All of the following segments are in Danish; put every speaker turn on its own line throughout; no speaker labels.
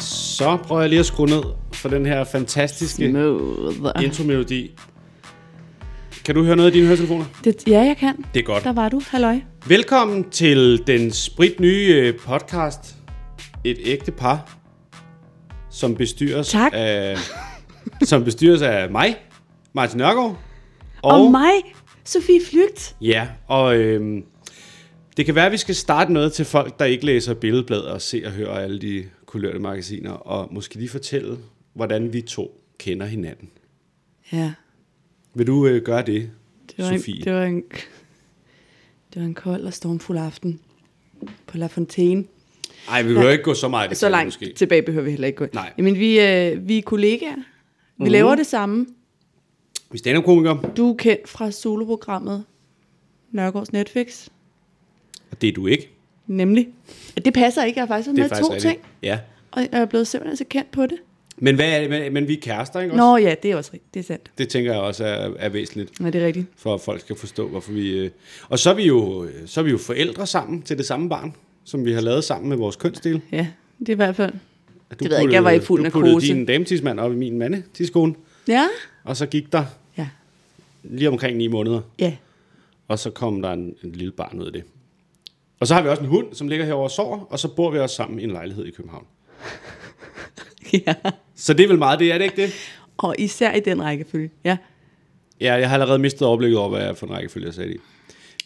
Så prøver jeg lige at skrue ned for den her fantastiske
Smooth.
intromelodi. Kan du høre noget i dine høretelefoner?
Det, ja, jeg kan.
Det er godt.
Der var du. Halløj.
Velkommen til den spritnye øh, podcast. Et ægte par, som bestyres
Tak.
af... Som bestyres af mig, Martin Nørgaard. Og,
Og mig, Sofie Flygt.
Ja, og øhm, det kan være, at vi skal starte noget til folk, der ikke læser billedbladet og ser og hører alle de kulørte magasiner, og måske lige fortælle, hvordan vi to kender hinanden.
Ja,
Vil du øh, gøre det,
det var,
Sofie?
en, det, var en, det var en kold og stormfuld aften på La Fontaine.
Ej, vi behøver ikke gå så meget i
Så
detaljer,
langt
måske.
tilbage behøver vi heller ikke gå.
Nej.
Jamen, vi, øh, vi er kollegaer. Vi laver det samme.
Vi er stand-up-komikere,
Du er kendt fra soloprogrammet Nørgaards Netflix.
og det er du ikke.
Nemlig. Det passer ikke. Jeg har faktisk
Det
været med i to
rigtigt.
ting.
Ja.
Og jeg er blevet simpelthen så kendt på det.
Men, hvad er det? Men, men vi er kærester, ikke også?
Nå ja, det er også rigtigt. Det er sandt.
Det tænker jeg også er, er væsentligt,
Ja, det er rigtigt.
for at folk skal forstå, hvorfor vi... Øh... Og så er vi, jo, øh, så er vi jo forældre sammen til det samme barn, som vi har lavet sammen med vores kønsdel.
Ja, det er i hvert fald.
Du
Det ved jeg ikke, jeg var i fuld
Du puttede
narkose.
din dametidsmand op i min mandetidsskole,
Ja.
og så gik der
Ja.
lige omkring 9 måneder,
Ja.
og så kom der en, en lille barn ud af det. Og så har vi også en hund, som ligger herovre og sover, og så bor vi også sammen i en lejlighed i København.
ja.
Så det er vel meget det, er det ikke det?
Og især i den rækkefølge. Ja.
Ja, jeg har allerede mistet overblikket over, hvad jeg er for en rækkefølge, jeg sagde i.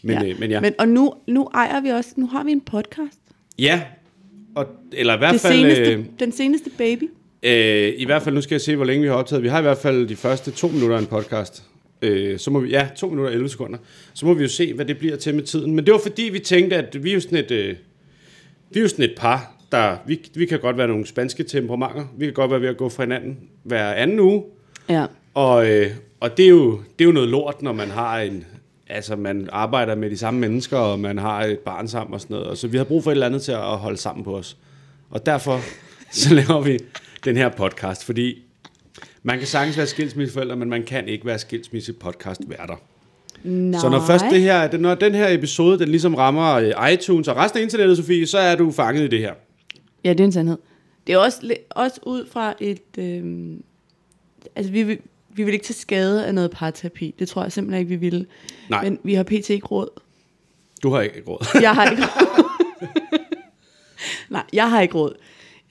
Men ja. Øh, men ja. Men,
men og nu, nu ejer vi også, nu har vi en podcast.
ja. Og, eller i hvert
Det
fald...
seneste,
øh,
den seneste baby.
Øh, I hvert fald, nu skal jeg se, hvor længe vi har optaget. Vi har i hvert fald de første to minutter af en podcast. Øh, så må vi, ja, to minutter og 11 sekunder. Så må vi jo se, hvad det bliver til med tiden. Men det var fordi, vi tænkte, at vi er jo sådan et, øh, vi er jo sådan et par, der, vi, vi kan godt være nogle spanske temperamenter. Vi kan godt være ved at gå fra hinanden hver anden uge.
Ja.
Og, øh, og det, er jo, det er jo noget lort, når man har en... Altså, man arbejder med de samme mennesker, og man har et barn sammen og sådan noget. Og så vi har brug for et eller andet til at holde sammen på os. Og derfor så laver vi den her podcast, fordi man kan sagtens være skilsmisseforældre, men man kan ikke være skilsmisse podcast værter.
Nej.
Så når først det her, når den her episode, den ligesom rammer øh, iTunes og resten af internettet, Sofie, så er du fanget i det her.
Ja, det er en sandhed. Det er også, li- også ud fra et... Øhm, altså, vi vil, vi vil ikke tage skade af noget parterapi. Det tror jeg simpelthen ikke, vi ville.
Nej.
Men vi har pt. ikke råd.
Du har ikke råd.
Jeg har ikke råd. Nej, jeg har ikke råd.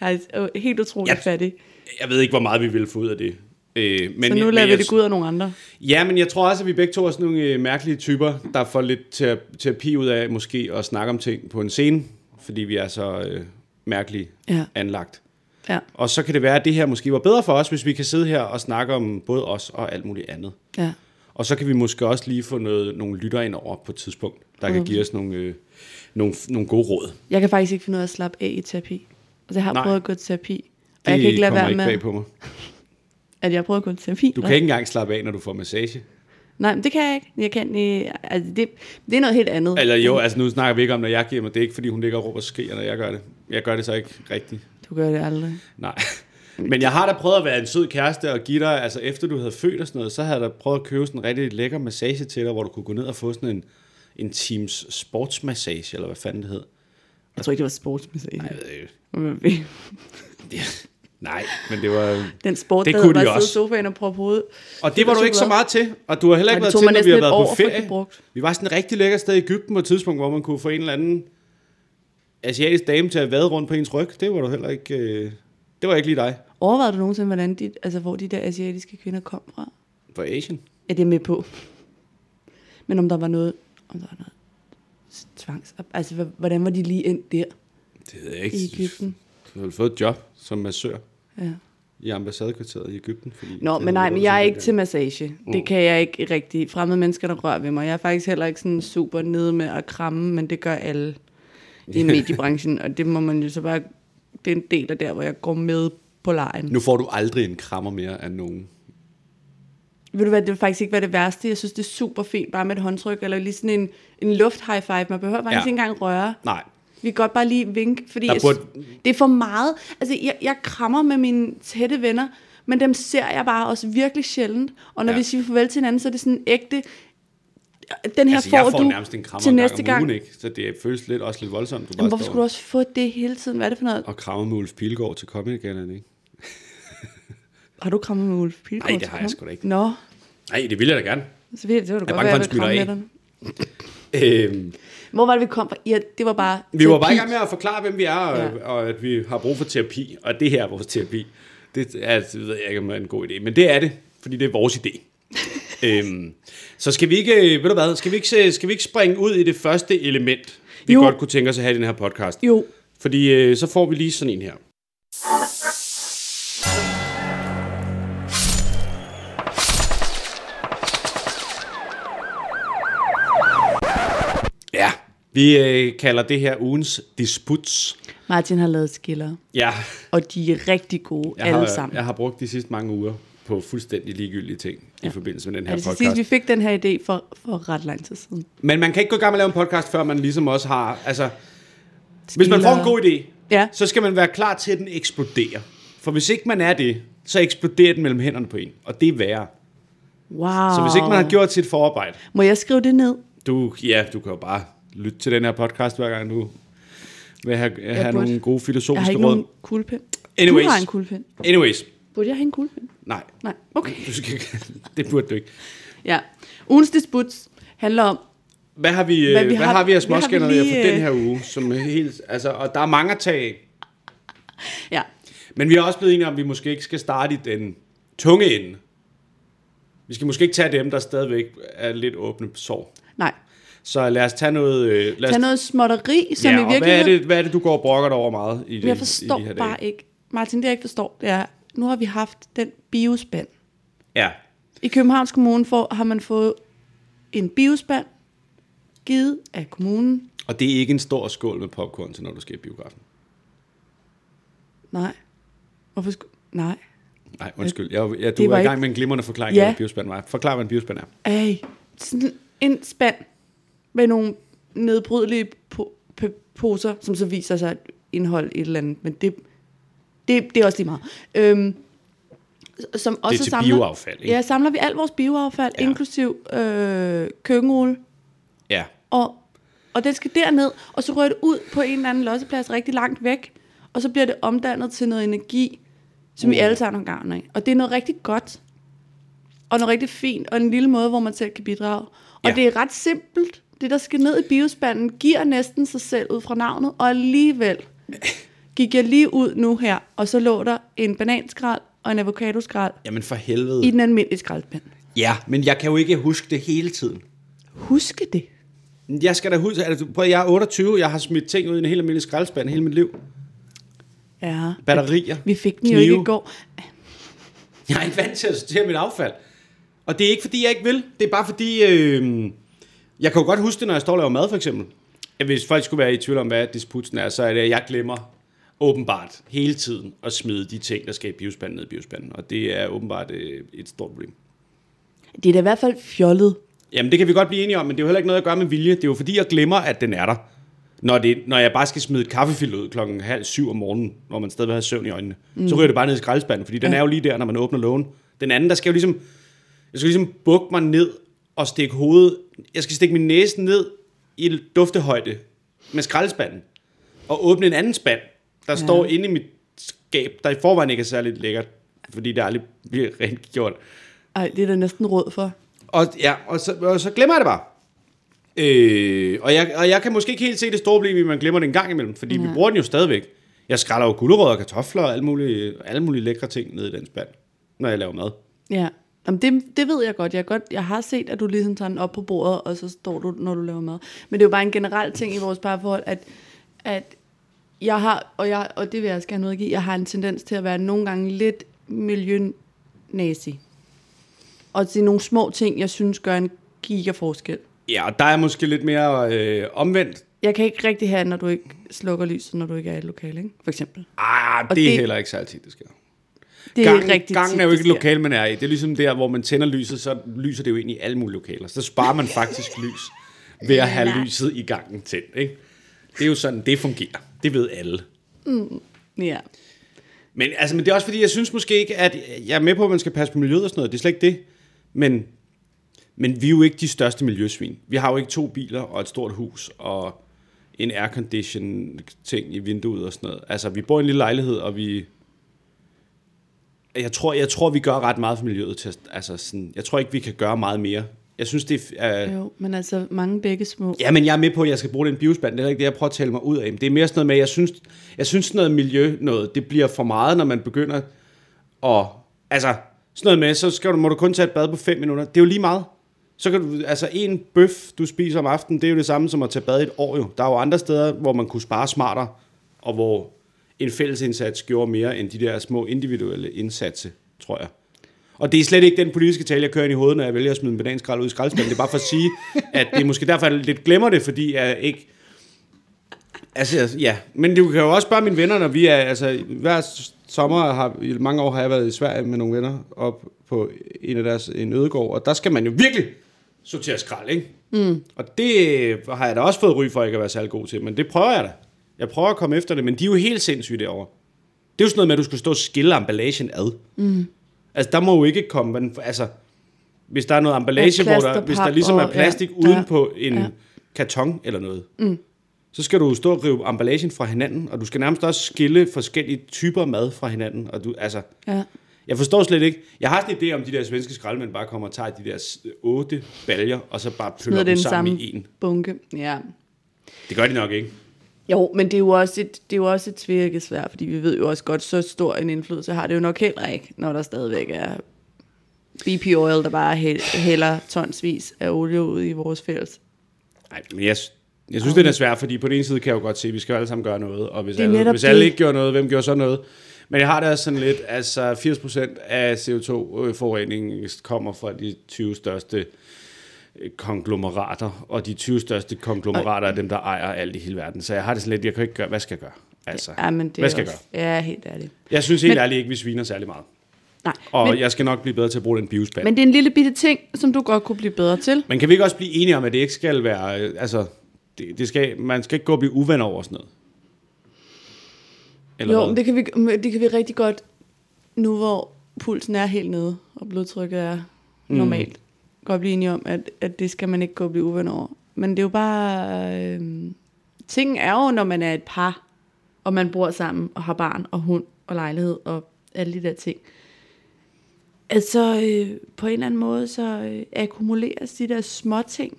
Jeg er øh, helt utrolig
Ja.
fattig.
Jeg ved ikke, hvor meget vi ville få ud af det. Øh, men,
Så nu
men
lader vi
jeg-
det gå ud af nogle andre.
Ja, men jeg tror også, at vi begge to er sådan nogle øh, mærkelige typer, der får lidt tera- terapi ud af måske at snakke om ting på en scene, fordi vi er så øh, mærkeligt
Ja.
anlagt.
Ja,
Og så kan det være, at det her måske var bedre for os, hvis vi kan sidde her og snakke om både os og alt muligt andet.
ja.
Og så kan vi måske også lige få noget, nogle lytter ind over på et tidspunkt, der
Mm.
kan give os nogle, øh, nogle, nogle gode råd.
Jeg kan faktisk ikke finde ud af at slappe af i terapi. Altså, jeg har
Nej.
Nej. prøvet at gå til terapi. Og
Det
jeg kan ikke lade
kommer
være
ikke
med,
bag på mig.
at jeg har prøvet at gå til terapi.
Du
Nå.
kan ikke engang slappe af, når du får massage.
Nej, men det kan jeg ikke. Jeg kan, øh, altså, det, det er noget helt andet.
Eller jo, altså nu snakker vi ikke om, når jeg giver mig. Det er ikke, fordi hun ligger og råber og skriger, når jeg gør det. Jeg gør det så ikke rigtigt.
Du gør det aldrig.
Nej. Men jeg har da prøvet at være en sød kæreste og give dig, altså efter du havde født og sådan noget, så havde jeg da prøvet at købe sådan en rigtig lækker massage til dig, hvor du kunne gå ned og få sådan en, en teams sportsmassage, eller hvad fanden det hed.
Jeg tror ikke, det var sportsmassage.
Jeg ved ikke.
Nej.
Det- Nej, men det var...
Den sport,
Det
der
kunne
hedder
de
bare at sidde
også.
i sofaen og proppe hovedet.
Og det var du ikke så meget til, og du har heller ikke
Nej,
været
det tog
til,
mig
når vi
næsten
har
et
været
år
på
at få det
ferie.
brugt.
Vi var sådan et rigtig lækker sted i Ægypten på et tidspunkt, hvor man kunne få en eller anden asiatisk dame til at vade rundt på ens ryg. Det var du heller ikke... Øh, det var ikke lige dig.
Overvejede du nogensinde, hvordan de, altså, hvor de der asiatiske kvinder kom fra?
For Asien.
Ja, det er med på. Men om der var noget, om der var noget tvangs... Altså, hva- hvordan var de lige endt der
Det ved jeg
i Ægypten?
Du har fået et job som massør.
Ja.
i ambassadekvarteret i Ægypten. Fordi
Nå,
det
men nej,
hedder
men jeg
sådan øh, uh.
er ikke til massage. Det kan jeg ikke rigtig. Fremmede mennesker, der rører ved mig. Jeg er faktisk heller ikke sådan super nede med at kramme, men det gør alle i mediebranchen, og det må man jo så bare... Det er en del af der, hvor jeg går med på lejen.
der. øh, Nu får du aldrig en krammer mere af nogen.
Ved du hvad, det vil faktisk ikke være det værste. Jeg synes, det er super fint, bare med et håndtryk, eller lige sådan en, en luft high five. Man behøver faktisk
Ja.
ja. ikke engang røre.
Nej.
Vi kan godt bare lige vinke, fordi
Der
jeg,
burde-
det er for meget. Altså, jeg, jeg krammer med mine tætte venner, men dem ser jeg bare også virkelig sjældent. Og når
Ja.
ja. vi siger farvel til hinanden, så er det sådan ægte, den her
altså,
får,
jeg får
du
nærmest en krammer
til næste
en gang, om
gang.
ugen, ikke? Så det føles lidt, også lidt voldsomt. Du bare
Men hvorfor
står
skulle du også få det hele tiden? Hvad er det for noget?
og krammer med Ulf Pilgaard til Comedy Gallaen, ikke?
Har du krammet med Ulf Pilgaard?
Nej, det
til
har jeg
ham?
sgu da ikke.
Nå,
Nej, det vil jeg da gerne.
så ved jeg, det var da
er
godt,
bange for,
være, jeg
han
ville kramme
skyder
med
af.
dig.
Øhm,
Hvor var det, vi kom fra? Ja, det var bare
vi var bare
terapi.
i gang med at forklare, hvem vi er, og,
Ja.
ja. og at vi har brug for terapi. Og det her er vores terapi. Det er, det ved jeg ikke, om det er en god idé, men det er det, fordi det er vores idé. øhm, så skal vi ikke, øh, ved du hvad, skal vi ikke, se- skal vi ikke springe ud i det første element, vi
Jo.
jo. godt kunne tænke os at have i den her podcast?
Jo,
Fordi øh, så får vi lige sådan en her. Ja, vi øh, kalder det her ugens disputs.
Martin har lavet skiller,
Ja,
og de er rigtig gode,
jeg
alle
har,
sammen.
jeg har brugt de sidste mange uger på fuldstændig ligegyldige ting ja. Altså, i forbindelse med den her
Ja, det skal
podcast.
siges, vi fik den her idé for, for ret lang tid siden.
Men man kan ikke gå i gang med at lave en podcast, før man ligesom også har... Altså, hvis man
Skiller.
får en god idé,
Ja,
så skal man være klar til, at den eksploderer. For hvis ikke man er det, så eksploderer den mellem hænderne på en. Og det er værre.
wow.
Så hvis ikke man har gjort sit forarbejde,
Må jeg skrive det ned?
du, ja, du kan jo bare lytte til den her podcast, hver gang du vil have, have
burde.
nogle gode
Jeg har
filosofiske
ikke
råd.
nogen kuglepen.
Anyways.
Du har en kuglepen.
Anyways,
Burde jeg have en kuglepen?
nej.
Nej, okay.
Du skal, ikke- det burde du ikke.
Ja. Ugens disput handler om,
Hvad har vi,
Hvad
hvad
vi
vi, hvad
har-
har vi af
hvad har vi
småskænderier
lige,
for den
øh,
her uge? Som er helt, altså, og der er mange at tage af.
ja,
Men vi er også blevet enige om, at vi måske ikke skal starte i den tunge ende. Vi skal måske ikke tage dem, der stadigvæk er lidt åbne sår.
nej.
Så lad os tage noget... Øh, lad os,
Tag noget småtteri, som
ja,
i
og hvad er,
virkeligheden...
det, hvad er det, du går og brokker dig over meget i, det,
Jeg
i de her
forstår
dage?
bare ikke. Martin, det jeg ikke forstår, det er, nu har vi haft den biospand.
Ja,
I Københavns Kommune får, har man fået en biospand givet af kommunen.
og det er ikke en stor skål med popcorn til, når du skal i biografen.
Nej. Hvorfor skulle... Nej.
Nej, undskyld. Jeg, jeg, du
Det
var,
var
i gang
ikke-
med en glimrende forklaring
Ja.
af, hvad biospand var. Forklar, hvad en biospand er.
Ej. Sådan en spand med nogle nedbrydelige po- p- poser, som så viser sig at indeholde et eller andet. Men det, det, det er også lige meget. Øhm, som også
til
samler,
bioaffald, ikke?
Ja, samler vi alt vores bioaffald, ja.
Ja.
inklusiv øh, køkkenrulle
Ja.
og, og den skal derned, og så rører det ud på en eller anden losseplads rigtig langt væk, og så bliver det omdannet til noget energi, som vi alle sammen har gavn af. Og det er noget rigtig godt, og noget rigtig fint, og en lille måde, hvor man selv kan bidrage. Og ja.
Ja.
det er ret simpelt. Det, der skal ned i biospanden, giver næsten sig selv ud fra navnet, og alligevel gik jeg lige ud nu her, og så lå der en bananskrald og en avocadoskrald
Jamen for helvede.
i den almindelige skraldspand.
Ja, men jeg kan jo ikke huske det hele tiden.
Huske det.
Jeg skal da huske... Altså, prøv, at- jeg er 28, jeg har smidt ting ud i en helt almindelig skraldespand hele mit liv.
Ja.
Batterier.
Vi fik den jo ikke
knive.
i går.
Jeg er ikke vant til at sortere mit affald. Og det er ikke, fordi jeg ikke vil. Det er bare fordi, øh, jeg kan jo godt huske det, når jeg står og laver mad, for eksempel. Hvis folk skulle være i tvivl om, hvad disputsen er, så er det, at jeg glemmer åbenbart hele tiden at smide de ting, der skal i biospanden ned i biospanden. Og det er åbenbart øh, et stort problem.
Det er da i hvert fald fjollet.
Jamen, det kan vi godt blive enige om, men det er jo heller ikke noget at gøre med vilje. Det er jo fordi, jeg glemmer, at den er der. Når, det, når jeg bare skal smide et kaffefilt ud klokken halv syv om morgenen, når man stadig har søvn i øjnene, mm. så ryger det bare ned i skraldespanden, fordi den
Ja.
er jo lige der, når man åbner lågen. Den anden, der skal jeg jo ligesom, jeg skal ligesom bukke mig ned og stikke hovedet, jeg skal stikke min næse ned i duftehøjde med skraldespanden og åbne en anden spand, der ja. står inde i mit skab, der i forvejen ikke er særlig lækkert, fordi det aldrig bliver rent gjort.
Ej, det er der næsten råd for.
Og, ja, og, så, og så glemmer jeg det bare. Øh, og, jeg, og jeg kan måske ikke helt se det store problem, i, at man glemmer det en gang imellem, fordi ja. vi bruger den jo stadigvæk. Jeg skræller jo gulerødder og kartofler og alle mulige, alle mulige lækre ting ned i den spand, når jeg laver mad.
Ja. Jamen, det, det ved jeg godt. Jeg, godt. jeg har set, at du ligesom tager den op på bordet, og så står du, når du laver mad. Men det er jo bare en generel ting i vores parforhold, at, at jeg har, og, jeg, og det vil jeg også gerne udgive, jeg har en tendens til at være nogle gange lidt miljønazi. Og det er nogle små ting, jeg synes gør en gigaforskel.
Ja, og der er måske lidt mere øh, omvendt.
Jeg kan ikke rigtig have, når du ikke slukker lyset, når du ikke er i et lokale, ikke? For eksempel.
Ah, det, det
det-
er heller ikke særlig tit, det sker.
Det er
Gangen,
rigtig
gangen
tit,
er jo
det
ikke et
sker.
lokal, man er i. Det er ligesom der, hvor man tænder lyset, så lyser det jo ind i alle mulige lokaler. Så sparer man faktisk lys ved at have lyset i gangen tændt. Ikke? Det er jo sådan, det fungerer. Det ved alle.
Ja.
Men, altså, men det er også fordi, jeg synes måske ikke, at jeg er med på, at man skal passe på miljøet og sådan noget. Det er slet ikke det. Men Men vi er jo ikke de største miljøsvin. Vi har jo ikke to biler og et stort hus og en aircondition ting i vinduet og sådan noget. Altså, vi bor i en lille lejlighed, og vi... Jeg tror, jeg tror vi gør ret meget for miljøet. Til, altså, sådan, jeg tror ikke, vi kan gøre meget mere. Jeg synes, det er...
Jo, men altså mange begge små.
Ja, men jeg er med på, at jeg skal bruge den biospand. Det er ikke det, jeg prøver at tale mig ud af. Men Det er mere sådan noget med, at jeg synes, jeg synes sådan noget miljø noget, det bliver for meget, når man begynder at... Altså, sådan noget med, så skal du, må du kun tage et bad på 5 minutter. Det er jo lige meget. Så kan du, altså en bøf, du spiser om aftenen, det er jo det samme som at tage bad i et år jo. Der er jo andre steder, hvor man kunne spare smartere, og hvor en fælles indsats gjorde mere end de der små individuelle indsatser, tror jeg. Og det er slet ikke den politiske tale, jeg kører ind i hovedet, når jeg vælger at smide en bananskrald ud i skraldespanden. Det er bare for at sige, at det er måske derfor, jeg lidt glemmer det, fordi jeg ikke... Altså, ja. Men du kan jo også spørge mine venner, når vi er... Altså, hver sommer har... I mange år har jeg været i Sverige med nogle venner op på en af deres en ødegård, og der skal man jo virkelig sortere skrald, ikke? Mm. Og det har jeg da også fået ry for, at jeg kan være særlig god til, men det prøver jeg da. Jeg prøver at komme efter det, men de er jo helt sindssyge derovre. Det er jo sådan noget med, at du skal stå og skille emballagen ad.
Mm.
Altså, der må jo ikke komme... men, Altså, hvis der er noget emballage, hvor der,
plasterpap
hvis der ligesom er
og-
plastik
ja,
ja, uden
der-
på en ja.
ja.
karton eller noget, mm. så skal du stå og rive emballagen fra hinanden, og du skal nærmest også skille forskellige typer mad fra hinanden. Og du, altså,
Ja.
jeg forstår slet ikke. Jeg har sådan en idé om, de der svenske skraldemænd bare kommer og tager de der s- otte baljer, og så bare
Noget
pøller
af den
dem
samme
sammen i en.
bunke. Ja.
Det gør de nok ikke.
Jo, men det er jo også et, det er jo også et tvirkesvær, fordi vi ved jo også godt, så stor en indflydelse har det jo nok heller ikke, når der stadigvæk er BP Oil, der bare hæ- hælder tonsvis af olie ud i vores fælles.
Nej, men jeg, s- jeg synes, okay. det er svært, fordi på den ene side kan jeg jo godt se, at vi skal jo alle sammen gøre noget, og hvis,
Det er
alle,
netop
hvis alle
det.
ikke gjorde noget, hvem gjorde så noget? Men jeg har det også sådan lidt, altså 80% af CO2-forureningen kommer fra de 20 største øh, konglomerater, og de 20 største konglomerater er dem, der ejer alt i hele verden. Så jeg har det sådan lidt, jeg kan ikke gøre, hvad skal jeg gøre? Altså,
Ja, men det er
hvad skal jeg
også,
gøre?
jeg gøre? Ja, helt ærligt.
Jeg synes helt
Men-
ærligt ikke, vi sviner særlig meget.
Nej,
Og
men,
jeg skal nok blive bedre til at bruge den biospand.
men det er en lille bitte ting, som du godt kunne blive bedre til.
Men kan vi ikke også blive enige om, at det ikke skal være... øh, Altså, det, det skal, man skal ikke gå og blive uven over sådan noget? Eller
jo,
hvad?
men det kan, vi, men det kan vi rigtig godt, nu hvor pulsen er helt nede, og blodtrykket er normalt, mm. godt blive enige om, at, at det skal man ikke gå og blive uven over. Men det er jo bare... Øh, tingen er jo, når man er et par, og man bor sammen, og har barn, og hund, og lejlighed, og alle de der ting. Altså, øh, på en eller anden måde, så øh, akkumuleres de der små ting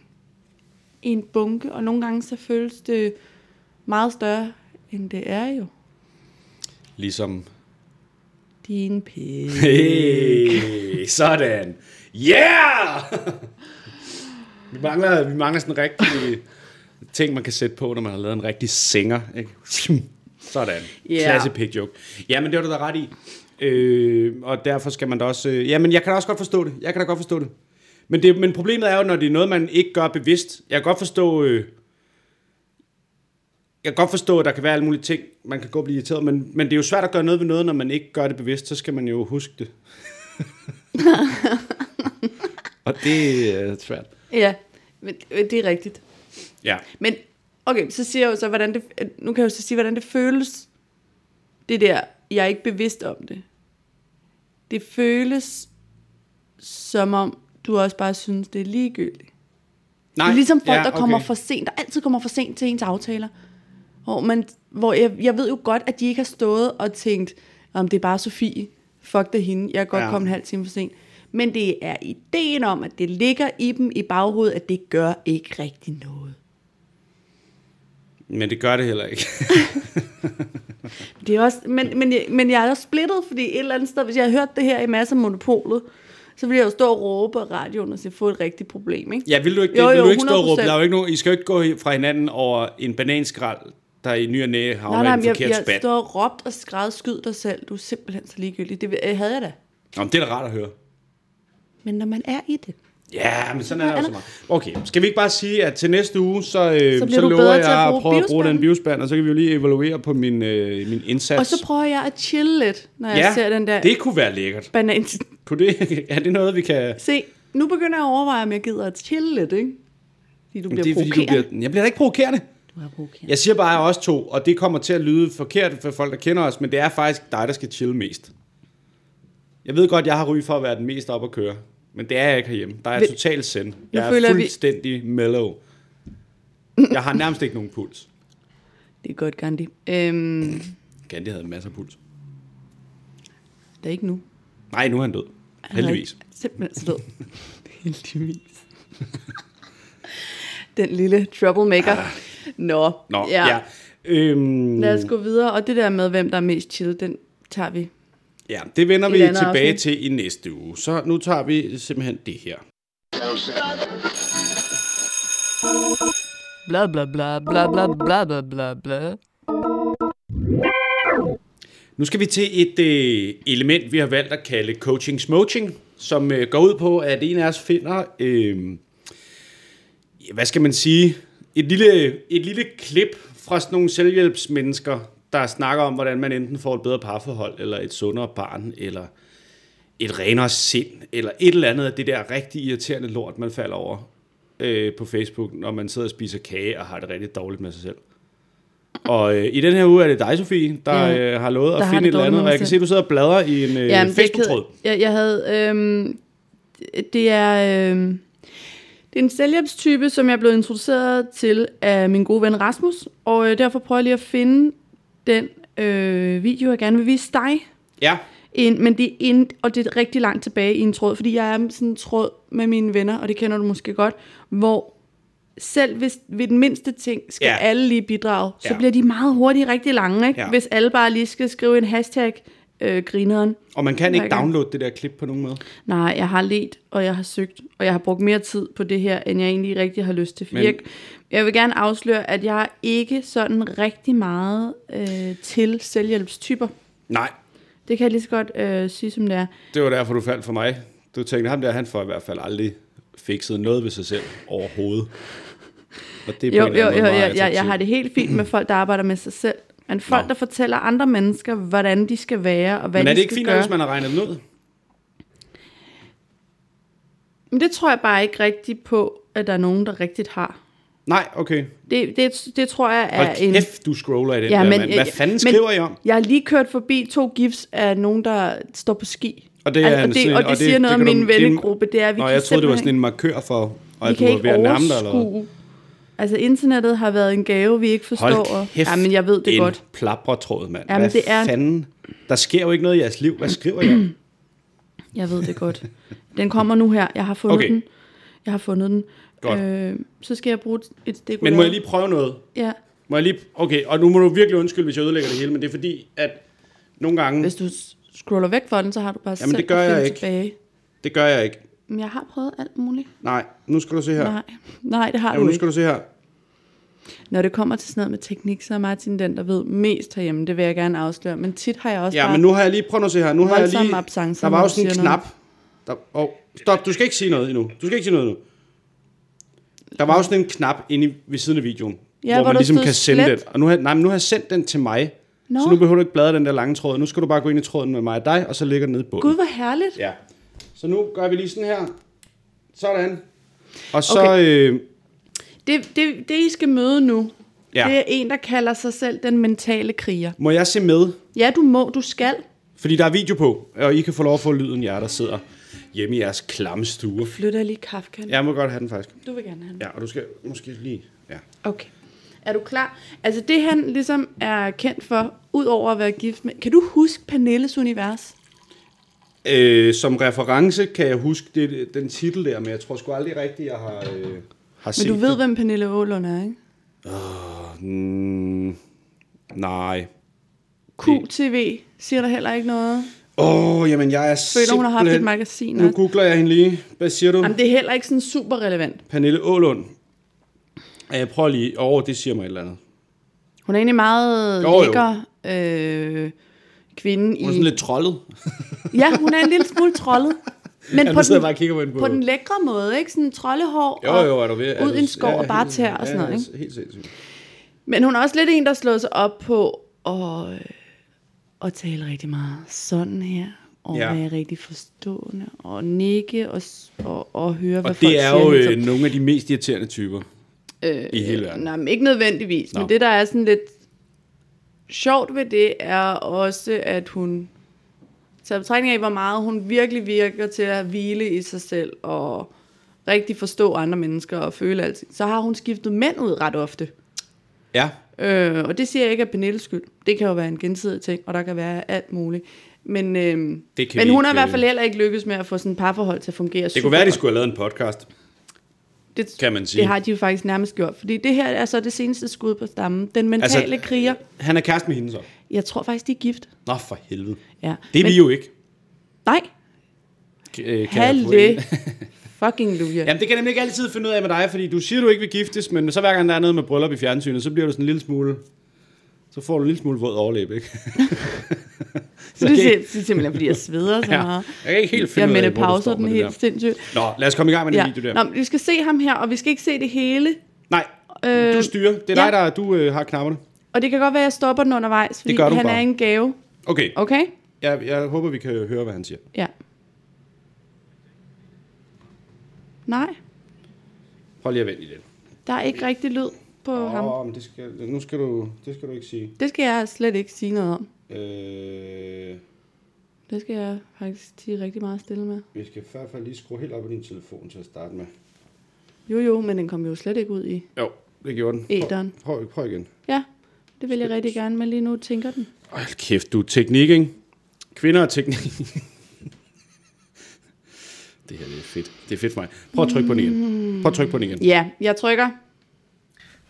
i en bunke, og nogle gange så føles det meget større, end det er jo.
Ligesom...
Din pik.
Hey, sådan! Yeah! vi, mangler, vi mangler sådan en rigtig ting, man kan sætte på, når man har lavet en rigtig singer. Ikke? sådan.
Ja.
Klasse pig joke. Jamen, det var du da ret i. Øh, og derfor skal man da også... Øh, jamen, jeg kan da også godt forstå det. Jeg kan da godt forstå det. Men, det, men problemet er jo, når det er noget, man ikke gør bevidst. Jeg kan godt forstå... Øh, jeg kan godt forstå, at der kan være alle mulige ting, man kan gå og blive irriteret, men, men det er jo svært at gøre noget ved noget, når man ikke gør det bevidst, så skal man jo huske det. og det er svært.
Ja, men det er rigtigt.
Ja.
Men okay, så siger jeg jo så, hvordan det, nu kan jeg jo så sige, hvordan det føles, det der, jeg er ikke bevidst om det. Det føles som om, du også bare synes, det er ligegyldigt.
Nej,
det er ligesom folk,
ja,
ja, der kommer
okay.
for sent, der altid kommer for sent til ens aftaler. Hvor, man, hvor jeg, jeg ved jo godt, at de ikke har stået og tænkt, om det er bare Sofie, fuck det hende, jeg er godt
Ja.
ja. kommet en halv time for sent. Men det er ideen om, at det ligger i dem i baghovedet, at det gør ikke rigtig noget.
Men det gør det heller ikke.
Det er også, men, men, jeg- men jeg er også splittet, fordi et eller andet sted, hvis jeg havde hørt det her i masser af monopolet, så ville jeg jo stå og råbe på radioen og sige, få et rigtigt problem, ikke?
Ja, vil du ikke, det?
Jo,
vil
jo,
du ikke stå og råbe?
100%.
Der er jo ikke nogen, I skal jo ikke gå fra hinanden over en bananskrald, der i ny og næ
Nej,
havner
nej,
i en
men jeg,
forkert
jeg
spand.
står og råbt og skræd, skyd dig selv, du er simpelthen så ligegyldig. Det øh, havde jeg da.
Nå, men det er da rart at høre.
Men når man er i det,
Ja, men sådan er det jo så meget. Okay, skal vi ikke bare sige, at til næste uge, så, øh, så,
Så bliver du
lover
bedre
jeg
til at
at
bruge
prøve at bruge den
biospanden.
biospand, og så kan vi jo lige evaluere på min, øh, min indsats.
og så prøver jeg at chille lidt, når jeg ser den der det...
det kunne være lækkert.
banan.
Kunne det, er det noget, vi kan...
Se, nu begynder jeg at overveje, om jeg gider at chille lidt, ikke? Fordi du bliver
Det er, fordi du
provokeret.
bliver, jeg bliver da ikke provokerende.
Du er provokeret.
Jeg siger bare, at jeg er også to, og det kommer til at lyde forkert for folk, der kender os, men det er faktisk dig, der skal chille mest. Jeg ved godt, jeg har ry for at være den mest op at køre, Men det er jeg ikke herhjemme. Der er jeg
Vil-
totalt send. Jeg er
føler vi-
fuldstændig mellow. Jeg har nærmest ikke nogen puls.
Det er godt, Gandhi. Øhm,
Gandhi havde masser af puls.
det er ikke nu.
Nej, nu er han død.
Han var
Heldigvis.
ikke- Simpelthen slået. Heldigvis. Den lille troublemaker. Nå,
Ah. Nå, ja. ja. Øhm,
Lad os gå videre. Og det der med, hvem der er mest chill, den tager vi.
ja, det vender vi
Et andet
tilbage
afsnit.
til i næste uge. Så nu tager vi simpelthen det her.
blah blah blah blah blah blah blah blah blah.
Nu skal vi til et øh, element, vi har valgt at kalde coaching smoaching, som øh, går ud på, at en af os finder, øh, ja, hvad skal man sige, et lille, et lille klip fra sådan nogle selvhjælpsmennesker, der snakker om, hvordan man enten får et bedre parforhold, eller et sundere barn, eller et renere sind, eller et eller andet af det der rigtig irriterende lort, man falder over øh, på Facebook, når man sidder og spiser kage og har det rigtig dårligt med sig selv. Og øh, i den her uge er det dig, Sofie, der
Ja.
ja, øh, har lovet
Der
at
har
finde
det
et eller
dårligt
andet,
med
og jeg
mig
kan se,
selv.
at du sidder og bladrer i en øh,
Jamen, det er ked-
Facebook-tråd.
Jeg, jeg havde... Øhm, det- det er... Øhm, det er en selvhjælpstype, som jeg er blevet introduceret til af min gode ven Rasmus, og øh, derfor prøver jeg lige at finde den øh, video, jeg gerne vil vise dig.
Ja,
En, men det er en, og det er rigtig langt tilbage i en tråd, fordi jeg er sådan en tråd med mine venner, og det kender du måske godt, hvor selv hvis ved den mindste ting skal
Ja.
ja. alle lige bidrage, så
Ja.
ja. bliver de meget hurtigt rigtig lange, ikke?
Ja.
Ja. hvis alle bare lige skal skrive en hashtag øh, grineren.
og man kan ikke
Hver gang.
downloade det der klip på nogen måde.
Nej, jeg har let, og jeg har søgt, og jeg har brugt mere tid på det her, end jeg egentlig rigtig har lyst til. Fordi
Men-
Men... jeg, jeg vil gerne afsløre, at jeg er ikke sådan rigtig meget øh, til selvhjælpstyper.
Nej,
Det kan jeg lige så godt øh, sige, som det er.
det var derfor, du faldt for mig. Du tænkte, ham der, han får i hvert fald aldrig fikset noget ved sig selv overhovedet. Og det er på
Jo,
en
jo,
eller
jo,
anden
jo
måde meget
jeg, jeg, jeg har
attraktivt.
det helt fint med folk, der arbejder med sig selv. Men folk,
Nå.
der fortæller andre mennesker, hvordan de skal være, og hvad
Men er
de
det ikke
skal
fint, nok,
gøre.
hvis man har regnet den ud?
Men det tror jeg bare ikke rigtigt på, at der er nogen, der rigtigt har.
Nej, okay.
Det, det, det tror jeg er
Hold
en...
kæft, du scroller i den ja, der, men, mand. Hvad fanden
men,
skriver I om?
Jeg har lige kørt forbi to gifs af nogen, der står på ski.
Og det, er
Al-
en sådan
og det,
en-
og det,
og det-
siger noget
det
om
kan du-
min
det er en-
vennegruppe. Det er, at vi
Nå,
kan
jeg troede, det var
simpelthen-
sådan en markør for,
vi
at du
kan
var
ikke
ved at nærme dig. Eller hvad?
overskue. Altså internettet har været en gave, vi ikke forstår.
Hold kæft,
og, jamen, jeg ved det
en
godt.
plapretråd, mand.
Jamen,
Hvad
det er-
fanden? Der sker jo ikke noget i jeres liv. Hvad skriver I om?
Jeg ved det godt. Den kommer nu her. Jeg har fundet
Okay.
okay. den. Jeg har fundet den.
Godt.
Øh, så skal jeg bruge et stik
Men må jeg lige prøve noget?
Ja.
Må jeg lige... Okay, og nu må du virkelig undskylde, hvis jeg ødelægger det hele, men det er fordi, at nogle gange...
Hvis du s- scroller væk fra den, så har du bare
Jamen,
selv
det gør
at finde
jeg ikke.
tilbage.
Det gør jeg ikke.
Men jeg har prøvet alt muligt.
Nej, nu skal du se her.
Nej, Nej det har
Jamen,
du
nu
ikke.
skal du se her.
Når det kommer til sådan noget med teknik, så er Martin den, der ved mest herhjemme. Det vil jeg gerne afsløre. Men tit har jeg også
Ja,
bare...
men nu har jeg lige... Prøv nu at se her. Nu har jeg
Voldsom
lige...
absence,
Der var
når
jo
du
sådan en
siger noget.
knap. Der... Oh, stop, du skal ikke sige noget endnu. Du skal ikke sige noget endnu. Der var jo sådan en knap inde i, ved siden af videoen,
Ja,
hvor
hvor
man
der
ligesom
stod
kan sende
slet.
den. Og nu har, nej, men nu har jeg sendt den til mig,
Nå.
så nu behøver du ikke bladre den der lange tråd. Nu skal du bare gå ind i tråden med mig og dig, og så ligger den nede i bunden.
Gud, hvor herligt.
Ja. Så nu gør vi lige sådan her. Sådan. Og så...
Okay.
Øh,
Det, det, det, I skal møde nu,
Ja.
ja. det er en, der kalder sig selv den mentale kriger.
må jeg se med?
Ja, du må, du skal.
Fordi der er video på, og I kan få lov at få lyden, jer der sidder hjemme i jeres klamme stue.
Flytter lige Kafka. Ja.
Jeg må godt have den faktisk.
Du vil gerne have den.
Ja, og du skal måske lige... Ja.
Okay. Er du klar? Altså det han ligesom er kendt for, udover at være gift med... Kan du huske Pernilles univers?
Øh, som reference kan jeg huske det, den titel der, men jeg tror sgu aldrig rigtigt, jeg har, øh, har
Men
set
du ved,
det.
hvem Pernille Aalund er, ikke?
Mm, nej.
QTV siger der heller ikke noget.
Åh, oh, jamen jeg er
Føler, hun har haft et
simpelthen-
magasin
Nu
også.
googler jeg hende lige. Hvad siger du?
Jamen, det er heller ikke sådan super relevant.
Pernille Ålund. Jeg prøver lige. Åh, oh, det siger mig et eller andet.
Hun er egentlig meget
Jo, jo.
jo, lækker øh, kvinde i...
Hun er sådan lidt trollet.
Ja, hun er en lille smule trollet. Men
Ja,
på,
nu sidder jeg
den,
bare og kigger på hende på.
på den lækre måde, ikke? Sådan trollehår
Jo,
og
jo, er du ved? er
ud
du-
i en skov
ja,
og bare
helt-
tæer og sådan
ja, altså.
noget, ikke?
Helt sindssygt.
Men hun er også lidt en, der slår sig op på at, øh, at tale rigtig meget sådan her, og
Ja.
ja. være rigtig forstående, og nikke, og, s- og, og høre, hvad
Og
folk
det er
siger.
jo
ligesom.
øh,
hele tiden.
nogle af de mest irriterende typer øh, i hele verden.
Nej, men ikke nødvendigvis,
Nå.
men det, der er sådan lidt sjovt ved det, er også, at hun Så jeg betragtning af, hvor meget hun virkelig virker til at hvile i sig selv og rigtig forstå andre mennesker og føle alt. Så har hun skiftet mænd ud ret ofte.
Ja,
Øh, og det siger jeg ikke er Pernilles skyld. Det kan jo være en gensidig ting, og der kan være alt muligt. Men, øh, men
Det kan vi
hun har i
ikke,
hvert fald
øh,
heller ikke lykkes med at få sådan et parforhold til at fungere
det kunne være, de skulle have lavet en podcast.
det,
kan man sige.
Det har de jo faktisk nærmest gjort, fordi det her er så det seneste skud på stammen. Den mentale altså,
Altså-
kriger.
Han er kæreste med hende så.
Jeg tror faktisk, de er gift.
Nå, for helvede.
Ja.
Det er
Men-
vi jo ikke.
Nej,
Kan, øh, kan jeg få en?
halve. Fucking Luja.
Jamen, det kan jeg nemlig ikke altid finde ud af med dig, fordi du siger, du ikke vil giftes, men så hver gang der er noget med bryllup i fjernsynet, så bliver du sådan en lille smule... Så får du en lille smule våd overlæb, ikke?
Så det, er, det er simpelthen, fordi jeg sveder så
Ja.
meget.
Jeg kan ikke helt finde
Jeg
ud af, hvor
med
du står
pauser den
med det
helt sindssygt.
der. Nå, lad os komme i gang med den
Ja.
video der.
Nå, men vi skal se ham her, og vi skal ikke se det hele.
Nej,
Øh,
du styrer. Det er
ja.
dig, der du øh, har knapperne.
Og det kan godt være, at jeg stopper den undervejs, fordi
gør du
han
bare.
er en gave.
Okay,
Okay?
jeg, jeg håber, vi kan høre, hvad han siger.
Ja. Nej,
Prøv lige at vente i det.
der er ikke rigtig lyd på oh. ham.
Åh, men det skal, nu skal du, det skal du ikke sige.
Det skal jeg slet ikke sige noget om.
Øh,
Det skal jeg faktisk tige rigtig meget stille med.
vi skal i hvert fald lige skrue helt op i din telefon til at starte med.
Jo jo, men den kom jo slet ikke ud i
Jo, det gjorde den.
æderen.
Prøv, prøv, prøv igen.
Ja, det vil jeg rigtig gerne, men lige nu tænker den.
Ej, hold kæft, du er teknik, ikke? Kvinder og teknik. det her det er fedt. Det er fedt for mig. Prøv at trykke på den igen. Prøv at trykke på den igen.
Ja, jeg trykker.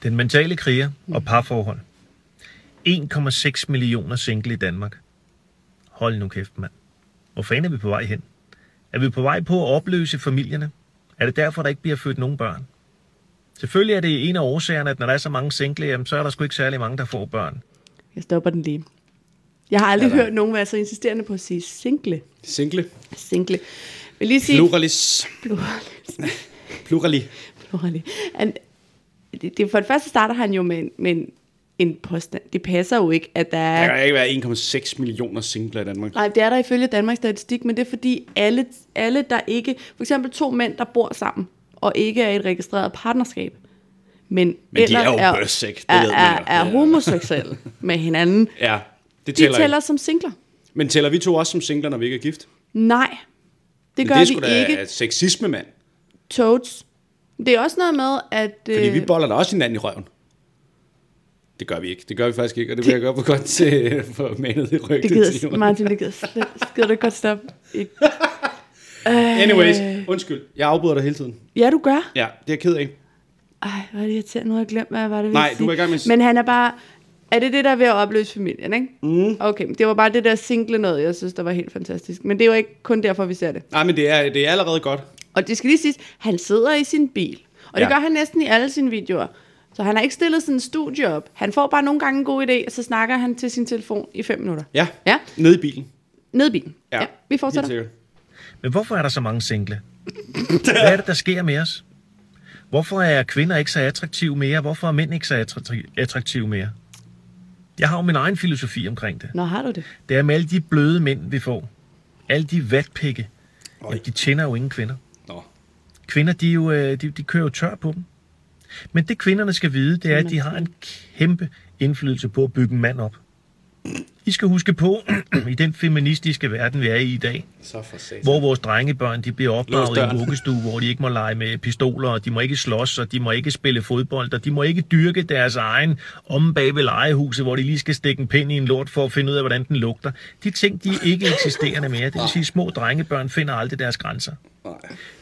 Den mentale kriger og parforhold. 1,6 millioner single i Danmark. Hold nu kæft, mand. Hvor fanden er vi på vej hen? Er vi på vej på at opløse familierne? Er det derfor, der ikke bliver født nogen børn? Selvfølgelig er det en af årsagerne, at når der er så mange single, jamen, så er der sgu ikke særlig mange, der får børn.
Jeg stopper den lige. Jeg har aldrig hørt nogen være så insisterende på at sige single.
Single.
Single. Jeg vil lige sige...
Pluralis.
Plur-
Plurali.
Plurali. Han, det, det, for det første starter han jo med en, med en, en påstand. Det passer jo ikke, at der
Der
er...
kan ikke være 1,6 millioner singler i Danmark.
Nej, det er der ifølge Danmarks Statistik, men det er fordi alle, alle der ikke... For eksempel to mænd, der bor sammen, og ikke er i et registreret partnerskab. Men,
de
ellers
er jo bøs, ikke? Det
er,
ved man
er,
jo.
er
Ja.
homoseksuelle med hinanden.
Ja, det
De
tæller,
tæller
ikke.
som singler.
Men tæller vi to også som singler, når vi ikke er gift?
Nej, det
Men
gør
det er
vi
sgu da altså.
ikke.
sexisme, mand.
Toads. Det er også noget med, at...
Fordi
øh,
vi boller da også hinanden i røven. Det gør vi ikke. Det gør vi faktisk ikke, og det vil jeg gøre på godt til øh, for manet i ryggen.
det
til
gider,
Jonas.
Martin, det gider, slet- gider du ikke godt stoppe. Ikke. Øh.
Anyways, undskyld. Jeg afbryder dig hele tiden.
Ja, du gør.
Ja, det er jeg ked af.
Ej, hvor er det irriterende. Nu har jeg glemt, hvad jeg var det,
Nej,
ville
du var i gang med at s-
sige. Men han er bare... Er det det, der er ved at opløse familien, ikke? Mm. Okay, men det var bare det der single noget, jeg synes, der var helt fantastisk. Men det er jo ikke kun derfor, vi ser det.
Nej, men det er, det er allerede godt.
Og det skal lige siges, han sidder i sin bil. Og det
Ja.
gør han næsten i alle sine videoer. Så han har ikke stillet sådan en studie op. Han får bare nogle gange en god idé, og så snakker han til sin telefon i fem minutter.
Ja.
Ja,
Nede i bilen.
ned i bilen.
Ja,
Ja, ja vi
Helt
fortsætter.
sikkert.
Men hvorfor er der så mange single? Hvad er det, der sker med os? Hvorfor er kvinder ikke så attraktive mere? Hvorfor er mænd ikke så attrakti- attraktive mere? Jeg har jo min egen filosofi omkring det.
Nå, har du det?
Det er med alle de bløde mænd, vi får. Alle de vatpikke. Jamen, de tænder jo ingen kvinder.
Nå.
Kvinder, de, er jo, øh, de, de kører jo tør på dem. Men det kvinderne skal vide, det er, at de har en kæmpe indflydelse på at bygge en mand op. I skal huske på, i den feministiske verden, vi er i i dag,
Så for satan.
hvor vores drengebørn de bliver
Lås
opdraget i
døren.
en vuggestue, hvor de ikke må lege med pistoler, og de må ikke slås, og de må ikke spille fodbold, og de må ikke dyrke deres egen omme bag ved legehuset, hvor de lige skal stikke en pind i en lort for at finde ud af, hvordan den lugter. De ting, de er ikke eksisterende mere. Det vil sige, at små drengebørn finder aldrig deres grænser.
Nej.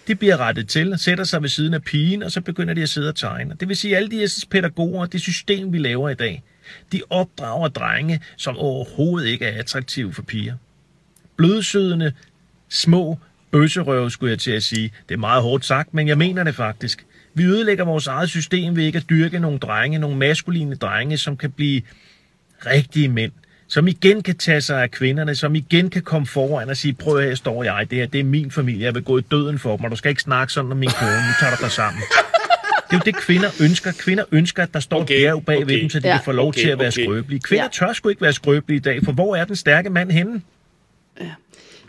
De bliver rettet til og sætter sig ved siden af pigen, og så begynder de at sidde og tegne. Det vil sige, at alle de her pædagoger og det system, vi laver i dag, de opdrager drenge, som overhovedet ikke er attraktive for piger. Blødsødende, små bøsserøve, skulle jeg til at sige. Det er meget hårdt sagt, men jeg mener det faktisk. Vi ødelægger vores eget system ved ikke at dyrke nogle drenge, nogle maskuline drenge, som kan blive rigtige mænd, som igen kan tage sig af kvinderne, som igen kan komme foran og sige, prøv her står jeg, det her det er min familie, jeg vil gå i døden for dem, og du skal ikke snakke sådan om min kone, nu tager du dig sammen. Det er jo det, kvinder ønsker. Kvinder ønsker, at der står
Okay,
okay, bjerg bag okay,
okay.
ved dem, så de
Ja.
ja, kan få lov
Okay,
okay, til at være
okay.
okay. skrøbelige. Kvinder
Ja.
ja. tør sgu ikke være skrøbelige i dag, for hvor er den stærke mand henne?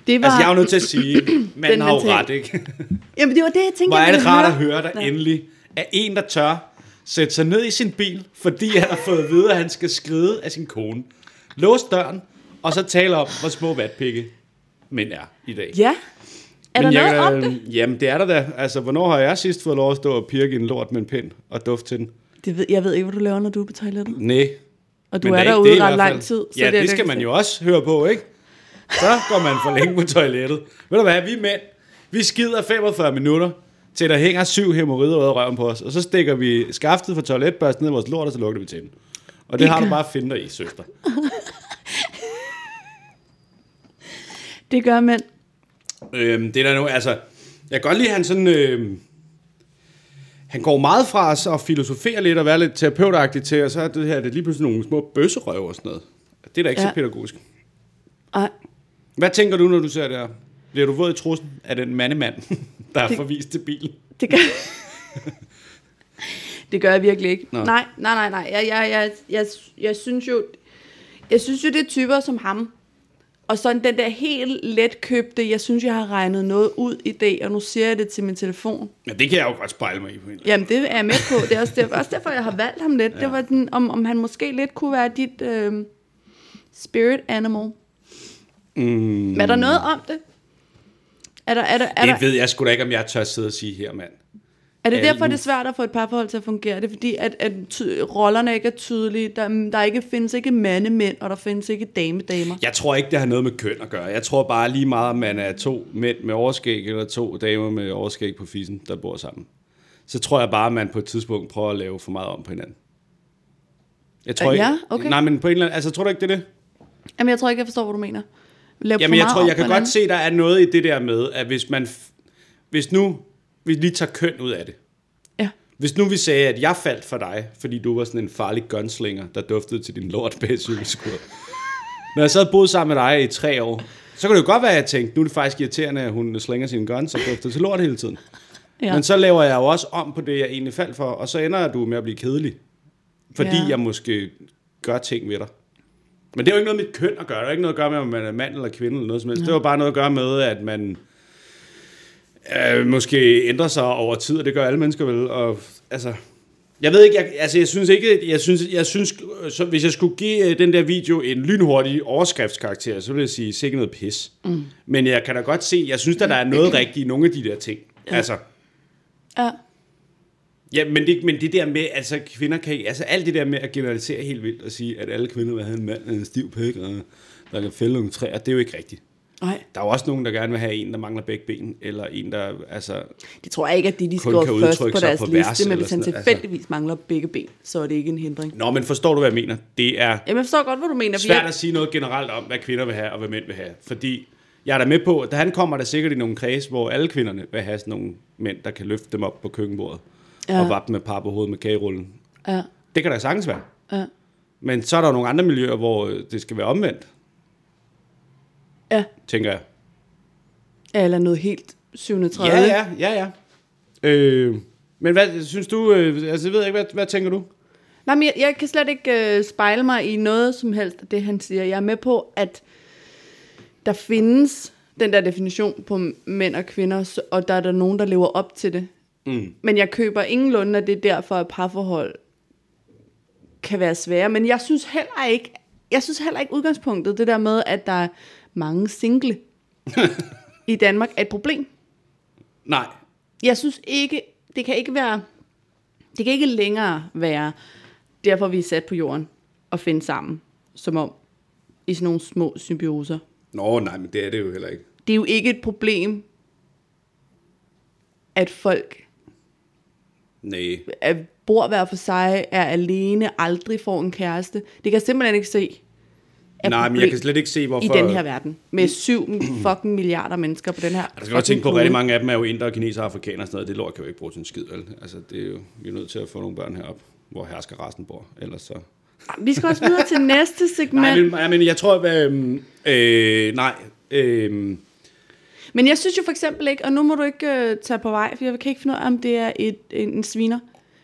Det var...
Altså, jeg er jo nødt til at sige, manden har jo
mentale-
ret, ikke?
Jamen, det var det, jeg tænkte,
Hvor
jeg
er det
ville
rart at høre,
høre.
der endelig er en, der tør sætte sig ned i sin bil, fordi han har fået at vide, at han skal skride af sin kone. Lås døren, og så tale om, hvor små vatpikke mænd er i dag.
Ja. Er der
Men
noget
jeg, øh,
om det?
Jamen, det er der da. Altså, hvornår har jeg sidst fået lov at stå og pirke en lort med en pind og dufte til den?
det ved, jeg ved ikke, hvad du laver, når du er på toilettet.
Nej.
Og du er derude ret lang tid.
Så ja, det, det
jeg
skal
kan
man
se.
jo også høre på, ikke? Så går man for længe på toilettet. Ved du hvad, vi er mænd. Vi skider 45 minutter, til der hænger syv hemorrider ud af røven på os. Og så stikker vi skaftet fra toiletbørsten ned i vores lort, og så lukker vi til den. Og det har du bare at finde dig i, søster.
Det gør mænd.
Øhm, det er der nu, altså, jeg kan godt lide, at han sådan, øhm, han går meget fra os og filosoferer lidt og være lidt terapeutagtig til, og så er det her det er lige pludselig nogle små bøsserøv og sådan noget. Det er da ikke ja.
Ja.
så pædagogisk.
Ej,
Hvad tænker du, når du ser det her? Bliver du våd i trussen af den mandemand, der er
Det-
forvist til bilen?
det gør... det gør jeg virkelig ikke.
Nå.
Nej, nej, nej, nej. Jeg, jeg, jeg, jeg, jeg synes jo... Jeg synes jo, det er typer som ham. Og sådan den der helt letkøbte, jeg synes, jeg har regnet noget ud i dag, og nu siger jeg det til min telefon.
Ja, det kan jeg jo godt spejle mig i på en eller
Jamen, det er jeg med på. Det er også, det er også derfor, jeg har valgt ham lidt. Ja. Det var den, om, om han måske lidt kunne være dit øh, spirit animal. Mm. Er der noget om det? Er, der, er, der, er,
anden.
der,
Det ved jeg sgu da ikke, om jeg tør sidde og sige her, mand.
er det derfor,
alle.
det er svært at få et parforhold til at fungere? Er det fordi, at, at ty- rollerne ikke er tydelige? Der, der ikke findes ikke mandemænd, og der findes ikke damedamer?
Jeg tror ikke, det har noget med køn at gøre. Jeg tror bare lige meget, om man er to mænd med overskæg, eller to damer med overskæg på fissen, der bor sammen. Så tror jeg bare, at man på et tidspunkt prøver at lave for meget om på hinanden. Jeg tror
Øh,
ikke,
ja, okay.
Nej, men på en eller anden... Altså, tror du ikke, det er det?
Jamen, jeg tror ikke, jeg forstår, hvad du mener. Lav
Jamen, jeg tror, jeg kan godt se, der er noget i det der med, at hvis man... f- Hvis nu... Vi lige tager køn ud af det.
Ja.
Hvis nu vi sagde, at jeg faldt for dig, fordi du var sådan en farlig gunslinger, der duftede til din lort bag cykelskur. Når jeg så havde boet sammen med dig i tre år, så kunne det jo godt være, at jeg tænkte, nu er det faktisk irriterende, at hun slænger sine guns og dufter til lort hele tiden.
Ja.
Ja. Men så laver jeg jo også om på det, jeg egentlig faldt for, og så ender du med at blive kedelig. Fordi
Ja.
ja. jeg måske gør ting ved dig. Men det har jo ikke noget med mit køn at gøre. Det har ikke noget at gøre med, om man er mand eller kvinde eller noget som helst. Ja. Det har bare noget at gøre med, at man øh, måske ændrer sig over tid, og det gør alle mennesker vel. Og, altså, jeg ved ikke, jeg, altså jeg synes ikke, jeg synes, jeg synes øh, så hvis jeg skulle give øh, den der video en lynhurtig overskriftskarakter, så ville jeg sige, sikkert noget pis. Mm. Men jeg kan da godt se, jeg synes, at der er noget rigtigt i nogle af de der ting. Ja. Altså,
Ja.
Ja, men det, men det der med, altså kvinder kan ikke, altså alt det der med at generalisere helt vildt og sige, at alle kvinder vil have en mand med en stiv pæk, og der kan fælde nogle træer, det er jo ikke rigtigt.
Nej,
Der er jo også nogen, der gerne vil have en, der mangler begge ben, eller en, der, altså,
det tror jeg ikke, at de, de
Kun
skriver
kan
først
udtrykke
på
sig
deres
på vers
liste, men
eller
hvis han
sådan noget,
tilfældigvis altså. mangler begge ben, så er det ikke en hindring.
nå, men forstår du, hvad jeg mener? Det er
Jamen, jeg forstår godt, hvad du mener. fordi
svært at sige noget generelt om, hvad kvinder vil have, og hvad mænd vil have, fordi jeg er da med på, at han kommer der sikkert i nogle kreds, hvor alle kvinderne vil have sådan nogle mænd, der kan løfte dem op på køkkenbordet,
Ja.
ja. og vappe med par på hovedet med kagerullen.
Jeg, ja,
Det kan da sagtens være.
ja,
Men så er der jo nogle andre miljøer, hvor øh, det skal være omvendt,
ja.
tænker jeg.
Eller noget helt 37.
Ja, ja, ja, ja. Øh, men hvad synes du, øh, altså jeg ved ikke, hvad, hvad tænker du?
Nej, men jeg, jeg kan slet ikke øh, spejle mig i noget som helst af det, han siger. Jeg er med på, at der findes den der definition på mænd og kvinder, så- og der er der nogen, der lever op til det. Mm. Men jeg køber ingenlunde, at det er derfor, at parforhold kan være svære. Men jeg synes heller ikke, jeg synes heller ikke udgangspunktet, det der med, at der er mange single i Danmark, er et problem.
Nej.
jeg synes ikke, det kan ikke være, det kan ikke længere være, derfor vi er sat på jorden og finde sammen, som om i sådan nogle små symbioser.
Nå, nej, men det er det jo heller ikke.
Det er jo ikke et problem, at folk
Nej.
at bor hver for sig, er alene, aldrig får en kæreste. Det kan jeg simpelthen ikke se. er
Nej, men jeg
problem
kan slet ikke se, hvorfor...
I den her verden. Med syv fucking milliarder mennesker på den her.
Altså, Jeg skal godt tænke på, at rigtig mange af dem er jo indere, kinesere, afrikanere og sådan noget. Det lort kan jo ikke bruge til en skid, vel? Altså, det er jo, vi er nødt til at få nogle børn herop, hvor hersker resten bor. Ellers så...
Vi skal også videre til næste segment.
Nej, men, nej, men jeg tror, at... Øh, øh, nej, øh,
Men jeg synes jo for eksempel ikke, og nu må du ikke øh, tage på vej, for jeg kan ikke finde ud af, om det er et, en, en sviner.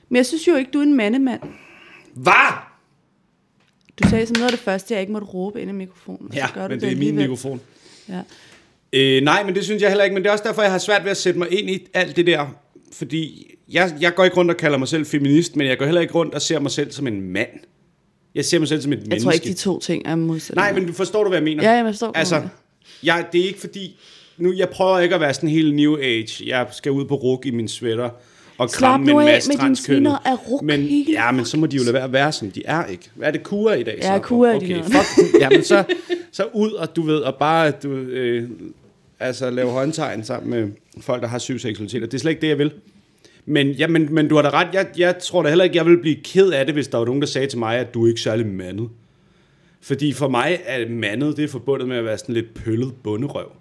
Men jeg synes jo ikke, du er en mandemand.
hvad?
Du sagde som noget af det første, jeg ikke måtte råbe ind i mikrofonen. og så gør
Ja,
du
men det er min
alligevel.
mikrofon.
Ja.
Øh, nej, men det synes jeg heller ikke, men det er også derfor, jeg har svært ved at sætte mig ind i alt det der, fordi jeg, jeg går ikke rundt og kalder mig selv feminist, men jeg går heller ikke rundt og ser mig selv som en mand. Jeg ser mig selv som et
Jeg
menneske.
tror ikke, de to ting er modsætninger.
Nej, men du forstår du, hvad jeg mener?
Ja, jamen, jeg forstår, hvad du
Altså,
mener.
Jeg, det er ikke fordi... Nu, jeg prøver ikke at være sådan helt new age. Jeg skal ud på ruk i min sweater og
Slap
kramme
nu
en
af
masse
med dine
transkønnede.
sviner af ruk
men,
hele
Ja, men så må de jo lade være at være, som de er, ikke? Hvad er det kura i dag?
Ja,
så?
kura er de
okay,
noget.
fuck. Jamen, så, så ud og du ved, og bare du, øh, altså, lave håndtegn sammen med folk, der har syv seksualiteter. Det er slet ikke det, jeg vil. Men, ja, men, men du har da ret. Jeg, jeg tror da heller ikke, jeg ville blive ked af det, hvis der var nogen, der sagde til mig, at du er ikke særlig mandet. Fordi for mig er mandet, det er forbundet med at være sådan lidt pøllet bunderøv.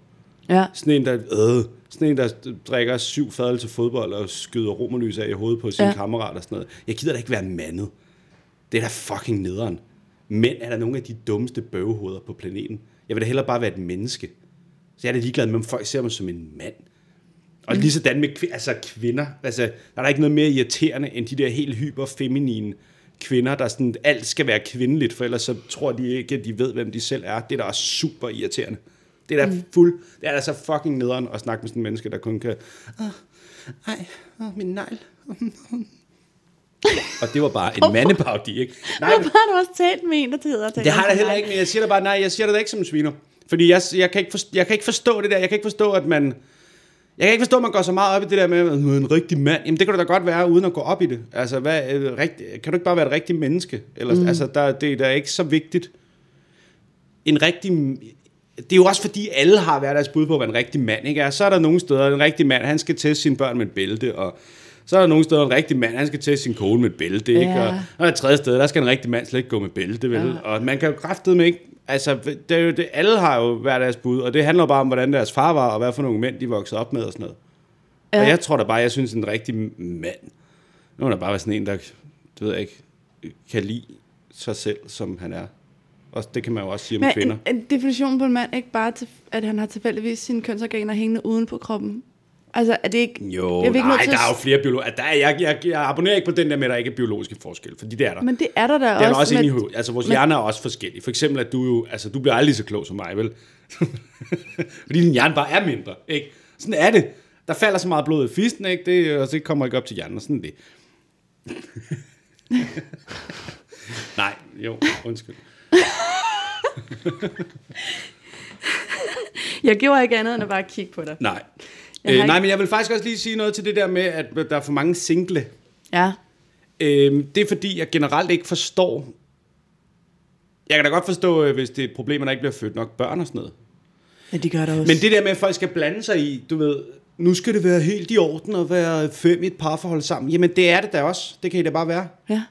Ja.
Sådan en, der, øh, sådan en, der drikker syv fadøl til fodbold og skyder romerlys af i hovedet på sin
Ja.
ja. kammerat og sådan noget. Jeg gider da ikke være mandet. Det er da fucking nederen. Mænd er der nogle af de dummeste bøvehoveder på planeten. Jeg vil da hellere bare være et menneske. Så jeg er da ligeglad med, om folk ser mig som en mand. Og lige sådan med kvi- altså kvinder. Altså, der er der ikke noget mere irriterende, end de der helt hyperfeminine kvinder, der sådan, alt skal være kvindeligt, for ellers så tror de ikke, at de ved, hvem de selv er. Det er da også super irriterende. Det er da fuld, det er da så fucking nederen at snakke med sådan en menneske, der kun kan, "Åh, ej, åh, min negl. og det var bare en mandepaudi, ikke? Nej,
Hvorfor har du også talt med en, der hedder
det har jeg da heller ikke, men jeg siger da bare, nej, jeg siger det da ikke som en sviner. Fordi jeg, jeg, kan ikke forstå, jeg kan ikke forstå det der, jeg kan ikke forstå, at man... Jeg kan ikke forstå, at man går så meget op i det der med, at man er en rigtig mand. Jamen, det kan du da godt være, uden at gå op i det. Altså, hvad, øh, rigtig, kan du ikke bare være et rigtigt menneske? Eller, mm. Altså, der, det er da ikke så vigtigt. En rigtig... Det er jo også fordi, alle har været deres bud på, hvad en rigtig mand ikke er. Så er der nogle steder, en rigtig mand, han skal teste sine børn med et bælte, og så er der nogle steder, en rigtig mand, han skal teste sin kone med et bælte, ikke?
Ja.
Og, og et tredje sted, der skal en rigtig mand slet ikke gå med bælte, vel? Ja. Og man kan jo kraftedeme ikke... Altså, det er jo det, alle har jo hver deres bud, og det handler bare om, hvordan deres far var, og hvad for nogle mænd, de voksede op med og sådan noget. Ja. Og jeg tror da bare, jeg synes, en rigtig mand... Nu er der bare være sådan en, der, du ved jeg ikke, kan lide sig selv, som han er. Og det kan man jo også sige om
Men
kvinder.
en, en definition på en mand er ikke bare, til, at han har tilfældigvis sine kønsorganer hængende uden på kroppen. Altså, er det ikke...
Jo,
er vi ikke nødt
nej,
til
der er
at-
jo flere biologer. Der er, jeg, jeg, jeg abonnerer ikke på den der med, at der ikke er biologiske forskelle, fordi det er der.
Men det er der da
det er
også.
der også
men-
inde i hovedet. Altså, vores men... hjerner er også forskellige. For eksempel, at du jo, altså, du bliver aldrig så klog som mig, vel? Fordi din hjerne bare er mindre, ikke? Sådan er det. Der falder så meget blod i fisten, ikke? Det, øh, og så kommer ikke op til hjernen, og sådan er det. Nej, jo, undskyld.
Jeg gjorde ikke andet end at bare kigge på dig.
Nej.
Jeg har
Øh,
ikke-
nej, men jeg vil faktisk også lige sige noget til det der med, at der er for mange single.
Ja.
Øhm, det er fordi, jeg generelt ikke forstår... Jeg kan da godt forstå, øh, hvis det er et problem, at der ikke bliver født nok børn og sådan noget.
Ja, de gør det også.
Men det der med, at folk skal blande sig i, du ved, nu skal det være helt i orden at være fem i et parforhold sammen. Jamen, det er det da også. Det kan I da bare være.
Ja.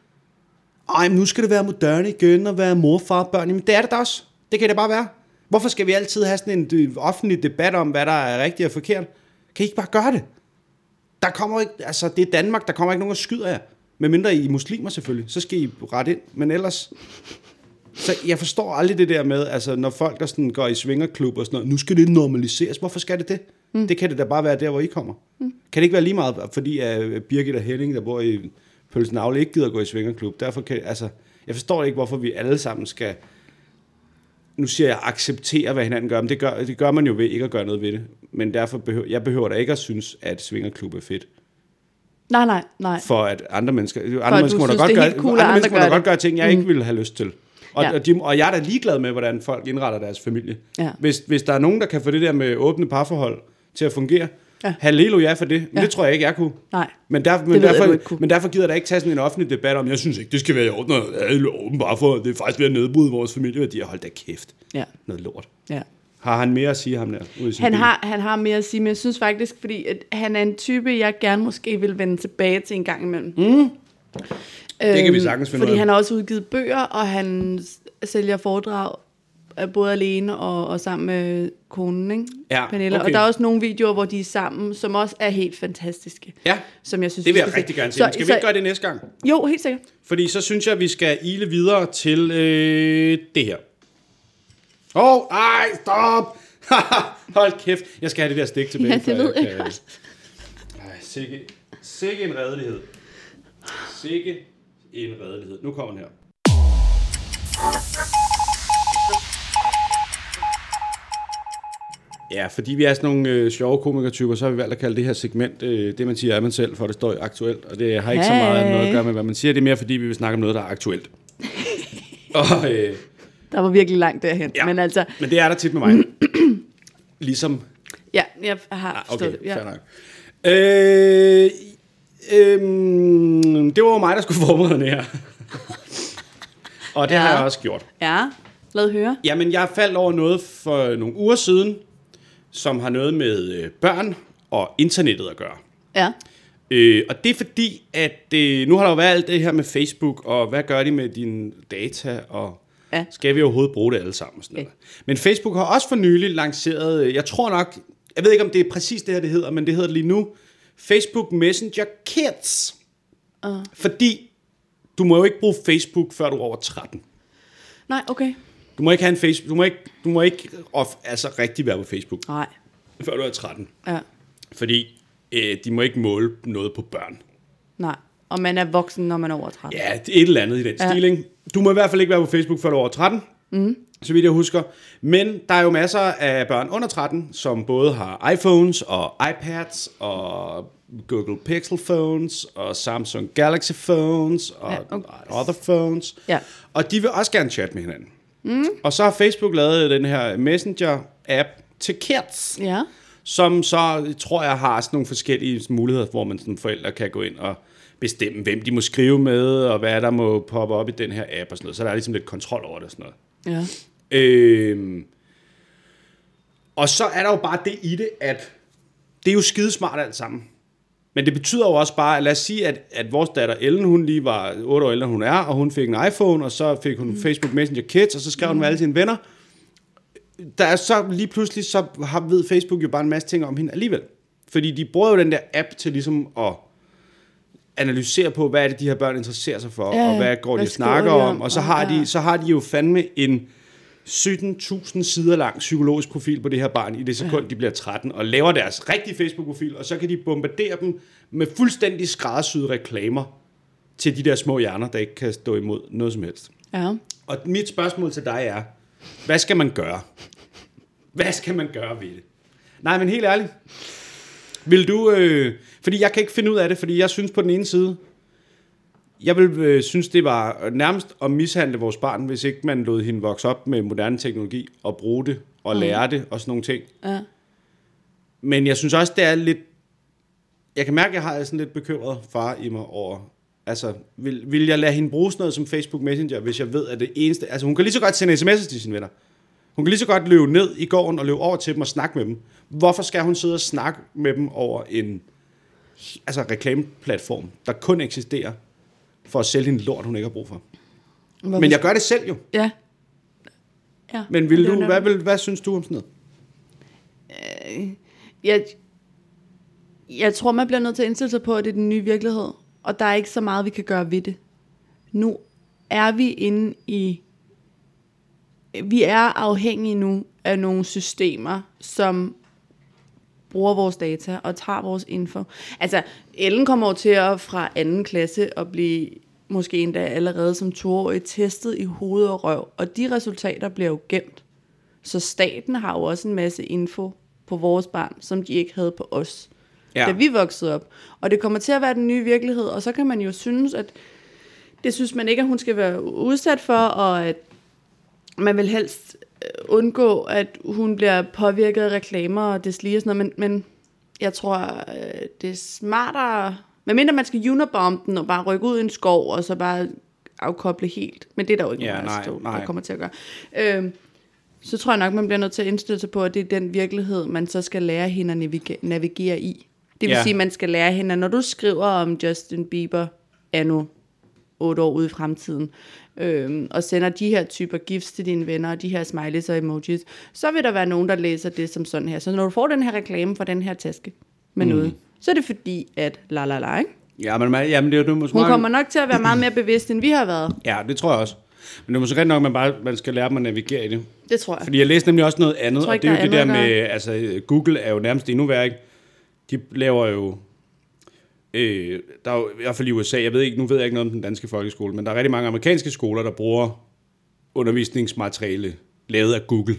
Ej, men nu skal det være moderne igen og være mor, far, børn. Jamen, det er det da også. Det kan det bare være. Hvorfor skal vi altid have sådan en øh, offentlig debat om, hvad der er rigtigt og forkert? Kan I ikke bare gøre det? Der kommer ikke, altså det er Danmark, der kommer ikke nogen og skyder jer. Medmindre I er muslimer selvfølgelig, så skal I rette ind. Men ellers, så jeg forstår aldrig det der med, altså når folk der sådan går i svingerklub og sådan noget, nu skal det normaliseres. Hvorfor skal det det? Mm. Det kan det da bare være der, hvor I kommer. Mm. Kan det ikke være lige meget, fordi uh, Birgit og Henning, der bor i Pølsen Agle, ikke gider gå i svingerklub. Derfor kan, altså, jeg forstår ikke, hvorfor vi alle sammen skal, nu siger jeg, acceptere, hvad hinanden gør. Men det gør, det gør man jo ved ikke at gøre noget ved det. Men derfor behøver, jeg behøver da ikke at synes, at svingerklub er fedt
Nej, nej, nej.
for at andre mennesker, andre
du
mennesker må da
synes,
godt
det er
gøre,
helt cool,
andre
at andre
mennesker må da
gør
godt
det. Mm.
gøre ting, jeg ikke ville have lyst til. Og,
Ja.
ja. og, de, og jeg er da ligeglad med, hvordan folk indretter deres familie.
Ja.
Hvis, hvis der er nogen, der kan få det der med åbne parforhold til at fungere, ja. halleluja for det. Men ja. det tror jeg ikke, jeg kunne.
Nej.
Men, der,
ved
men,
jeg, du
derfor,
ikke kunne.
men derfor gider jeg da ikke tage sådan en offentlig debat om, jeg synes ikke, det skal være i orden, at alle er åbne parforhold. Det er faktisk ved at nedbryde vores familieværdier. Hold da kæft.
Ja.
Noget lort.
ja.
Har han mere at sige ham der? Ude i sin
Han
bil?
har, han har mere at sige, men jeg synes faktisk, fordi at han er en type, jeg gerne måske vil vende tilbage til en gang imellem. Mm.
kan vi sagtens finde ud
Fordi
af.
han har også udgivet bøger, og han s- sælger foredrag øh, både alene og, og sammen med konen, ikke?
Ja,
Pernille. Og
okay.
der er også nogle videoer, hvor de er sammen, som også er helt fantastiske.
Ja.
Som jeg synes,
Det
vi
vil jeg
skal se.
rigtig gerne se. Men Skal vi ikke gøre det næste gang?
Jo, helt sikkert.
Fordi så synes jeg, vi skal ile videre til øh, det her. Åh, oh, ej, stop! Hold kæft, jeg skal have det der stik tilbage.
Ja, det
før
ved jeg
kan- Ej, sikke, sikke en redelighed. Sikke en redelighed. Nu kommer den her. Ja, fordi vi er sådan nogle øh, sjove komikertyper, så har vi valgt at kalde det her segment, øh, det man siger er man selv, for det står jo aktuelt, og det har ikke hey. så meget noget at gøre med, hvad man siger. Det er mere, fordi vi vil snakke om noget, der er aktuelt. og, øh,
Der var virkelig langt derhen.
ja.
Men altså,
men det er der tit med mig. ligesom
Ja, jeg har
Ah,
forstået
okay,
det.
ja. fair
Ja.
nok. Øh, øhm, det var jo mig, der skulle forberede det her. Og det ja. har
Ja.
jeg også gjort.
ja, lad høre.
Jamen, jeg faldt over noget for nogle uger siden, som har noget med øh, børn og internettet at gøre.
Ja.
Øh, og det er fordi, at øh, nu har der jo været alt det her med Facebook, og hvad gør de med dine data, og
Ja.
skal vi overhovedet bruge det alle sammen? og Sådan noget. Men Facebook har også for nylig lanceret, øh, jeg tror nok, jeg ved ikke om det er præcis det her, det hedder, men det hedder det lige nu, Facebook Messenger Kids. Uh. Fordi du må jo ikke bruge Facebook, før du er over 13.
Nej, okay.
Du må ikke have en Facebook, du må ikke, du må ikke off, altså rigtig være på Facebook,
Nej.
før du er 13.
Ja.
Fordi øh, de må ikke måle noget på børn.
Nej. Og man er voksen, når man er over 13.
Ja, det er et eller andet i den ja.
Ja.
stil, ikke? Du må i hvert fald ikke være på Facebook før du er over 13, mm. så vidt jeg husker. Men der er jo masser af børn under 13, som både har iPhones og iPads og Google Pixel phones og Samsung Galaxy phones og ja,
Ja, okay.
other phones.
Ja.
Og de vil også gerne chatte med hinanden. Mm. Og så har Facebook lavet den her Messenger-app til kids
Ja.
som så, tror jeg, har sådan nogle forskellige muligheder, hvor man som forældre kan gå ind og bestemme, hvem de må skrive med, og hvad der må poppe op i den her app og sådan noget. Så der er ligesom lidt kontrol over det og sådan noget.
Ja.
Øhm, og så er der jo bare det i det, at det er jo skidesmart alt sammen. Men det betyder jo også bare, lad os sige, at, at vores datter Ellen, hun lige var 8 år ældre, end hun er, og hun fik en iPhone, og så fik hun Facebook Messenger Kids, og så skrev hun med alle sine venner. Der er så lige pludselig, så har, ved Facebook jo bare en masse ting om hende alligevel. Fordi de bruger jo den der app til ligesom at analysere på, hvad er det, de her børn interesserer sig for,
Ja,
og
ja.
hvad går de
Hvad
og snakker
skriver de
om,
om,
og så
og
har,
ja.
de, så har de jo fandme en 17.000 sider lang psykologisk profil på det her barn, i det sekund, de bliver 13, og laver deres rigtige Facebook-profil, og så kan de bombardere dem med fuldstændig skræddersyede reklamer til de der små hjerner, der ikke kan stå imod noget som helst.
Ja.
Og mit spørgsmål til dig er, hvad skal man gøre? Hvad skal man gøre ved det? Nej, men helt ærligt. Vil du... Øh, fordi jeg kan ikke finde ud af det, fordi jeg synes på den ene side, jeg vil øh, synes, det var nærmest at mishandle vores barn, hvis ikke man lod hende vokse op med moderne teknologi og bruge det og lære det og sådan nogle ting.
Ja.
Men jeg synes også, det er lidt... Jeg kan mærke, at jeg har sådan lidt bekymret far i mig over... Altså, vil, vil jeg lade hende bruge sådan noget som Facebook Messenger, hvis jeg ved, at det eneste... Altså, hun kan lige så godt sende sms'er til sine venner. Hun kan lige så godt løbe ned i gården og løbe over til dem og snakke med dem. Hvorfor skal hun sidde og snakke med dem over en altså, reklameplatform, der kun eksisterer for at sælge hende lort, hun ikke har brug for?
Hvorfor-
Men jeg gør det selv jo.
Ja. ja.
Men vil
det er
du,
jo
hvad,
nemt.
vil, hvad synes du om sådan noget?
Jeg, jeg tror, man bliver nødt til at indstille sig på, at det er den nye virkelighed. Og der er ikke så meget, vi kan gøre ved det. Nu er vi inde i... Vi er afhængige nu af nogle systemer, som bruger vores data og tager vores info. Altså, Ellen kommer over til at fra anden klasse og blive måske endda allerede som toårig testet i hoved og røv, og de resultater bliver jo gemt. Så staten har jo også en masse info på vores barn, som de ikke havde på os,
Ja.
ja. da vi voksede op. Og det kommer til at være den nye virkelighed, og så kan man jo synes, at det synes man ikke, at hun skal være udsat for, og at man vil helst øh, undgå, at hun bliver påvirket af reklamer og det slige og sådan noget, men, men jeg tror, øh, det er smartere, medmindre man skal unibombe den og bare rykke ud i en skov og så bare afkoble helt, men det er der jo ikke
Ja,
nogen,
nej,
der, står-
nej.
der kommer til at gøre. Øhm, så tror jeg nok, man bliver nødt til at indstille sig på, at det er den virkelighed, man så skal lære hende at navigere, navigere i. Det vil
Ja.
ja. sige, man skal lære hende, at når du skriver om Justin Bieber anno otte år ude i fremtiden, øhm, og sender de her typer gifts til dine venner, og de her smileys og emojis, så vil der være nogen, der læser det som sådan her. Så når du får den her reklame for den her taske med mm. noget, så er det fordi, at la la la, ikke?
Ja, men, man- jamen, det er jo det,
Hun kommer nok til at være meget mere bevidst, end vi har været.
Ja, det tror jeg også. Men det er måske rigtig nok, at man, bare, man skal lære dem at navigere i det.
Det tror jeg.
Fordi jeg læste nemlig også noget andet,
tror
og
ikke,
det er jo
der
det
er
der
andet
med,
at
altså Google er jo nærmest endnu værre, ikke? De laver jo, øh, der er jo, i hvert fald i USA, jeg ved ikke, nu ved jeg ikke noget om den danske folkeskole, men der er rigtig mange amerikanske skoler, der bruger undervisningsmateriale lavet af Google.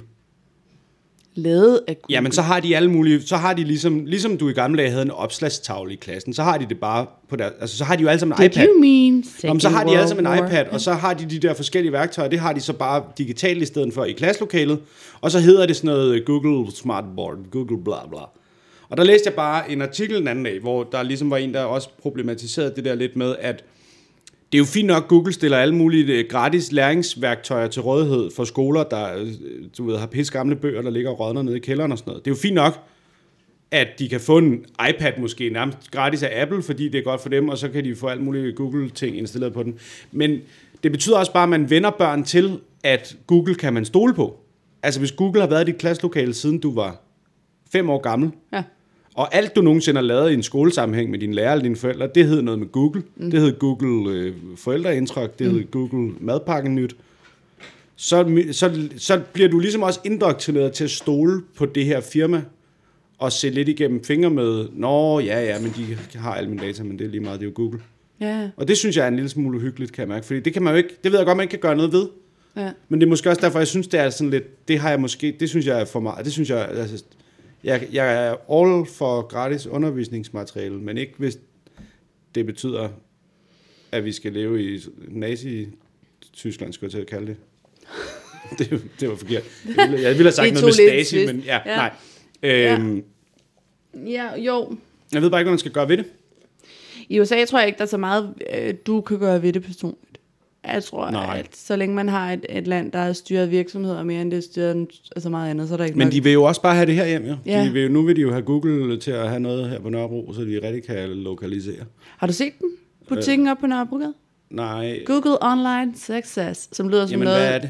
lavet af Google.
Jamen, så har de alle mulige, så har de ligesom, ligesom du i gamle dage havde en opslagstavle i klassen, så har de det bare på der, altså så har de jo alle sammen en
Did
iPad.
you mean
Jamen, så har de
Second
alle sammen en
World War?
iPad, og så har de de der forskellige værktøjer, det har de så bare digitalt i stedet for i klasselokalet, og så hedder det sådan noget øh, Google Smartboard, Google bla bla. Og der læste jeg bare en artikel den anden dag, hvor der ligesom var en, der også problematiserede det der lidt med, at det er jo fint nok, Google stiller alle mulige øh, gratis læringsværktøjer til rådighed for skoler, der øh, du ved, har pisse gamle bøger, der ligger og rådner nede i kælderen og sådan noget. Det er jo fint nok, at de kan få en iPad måske nærmest gratis af Apple, fordi det er godt for dem, og så kan de få alt muligt Google-ting installeret på den. Men det betyder også bare, at man vender børn til, at Google kan man stole på. Altså hvis Google har været i dit klasselokale, siden du var fem år gammel,
Ja.
og alt du nogensinde har lavet i en skolesammenhæng med dine lærere eller dine forældre, det hed noget med Google. Mm. Det hed Google øh, forældreindtryk, det mm. hed Google madpakken nyt. Så, mi- så, så bliver du ligesom også indoktrineret til at stole på det her firma, og se lidt igennem fingre med, nå ja, ja, men de har alle mine data, men det er lige meget, det er jo Google.
Ja,
Og det synes jeg er en lille smule uhyggeligt, kan jeg mærke, fordi det kan man jo ikke, det ved jeg godt, man ikke kan gøre noget ved.
ja.
Men det er måske også derfor, jeg synes, det er sådan lidt, det har jeg måske, det synes jeg er for meget, det synes jeg, altså, jeg, jeg er all for gratis undervisningsmateriale, men ikke hvis det betyder, at vi skal leve i nazi-Tyskland, skulle jeg til at kalde det. det, det var forkert. Jeg ville, jeg ville have sagt
Det
noget
tog
med
lidt
Stasi,
twist.
men ja,
Ja.
ja. nej. Øhm, ja.
ja jo.
Jeg ved bare ikke, hvad man skal gøre ved det.
I USA tror jeg ikke, der er så meget, øh, du kan gøre ved det personligt. Jeg tror,
Nej.
Nej. at så længe man har et, et land, der er styret af virksomheder mere end det er styret af altså meget andet, så er der ikke
Men
nok.
de vil jo også bare have det her hjem, jo.
Ja.
De vil, jo- nu vil de jo have Google til at have noget her på Nørrebro, så de rigtig kan lokalisere.
Har du set den?
Øh.
Butikken op på Nørrebrogade?
Nej,
Google Online Success, som lyder som
jamen
noget
hvad er det?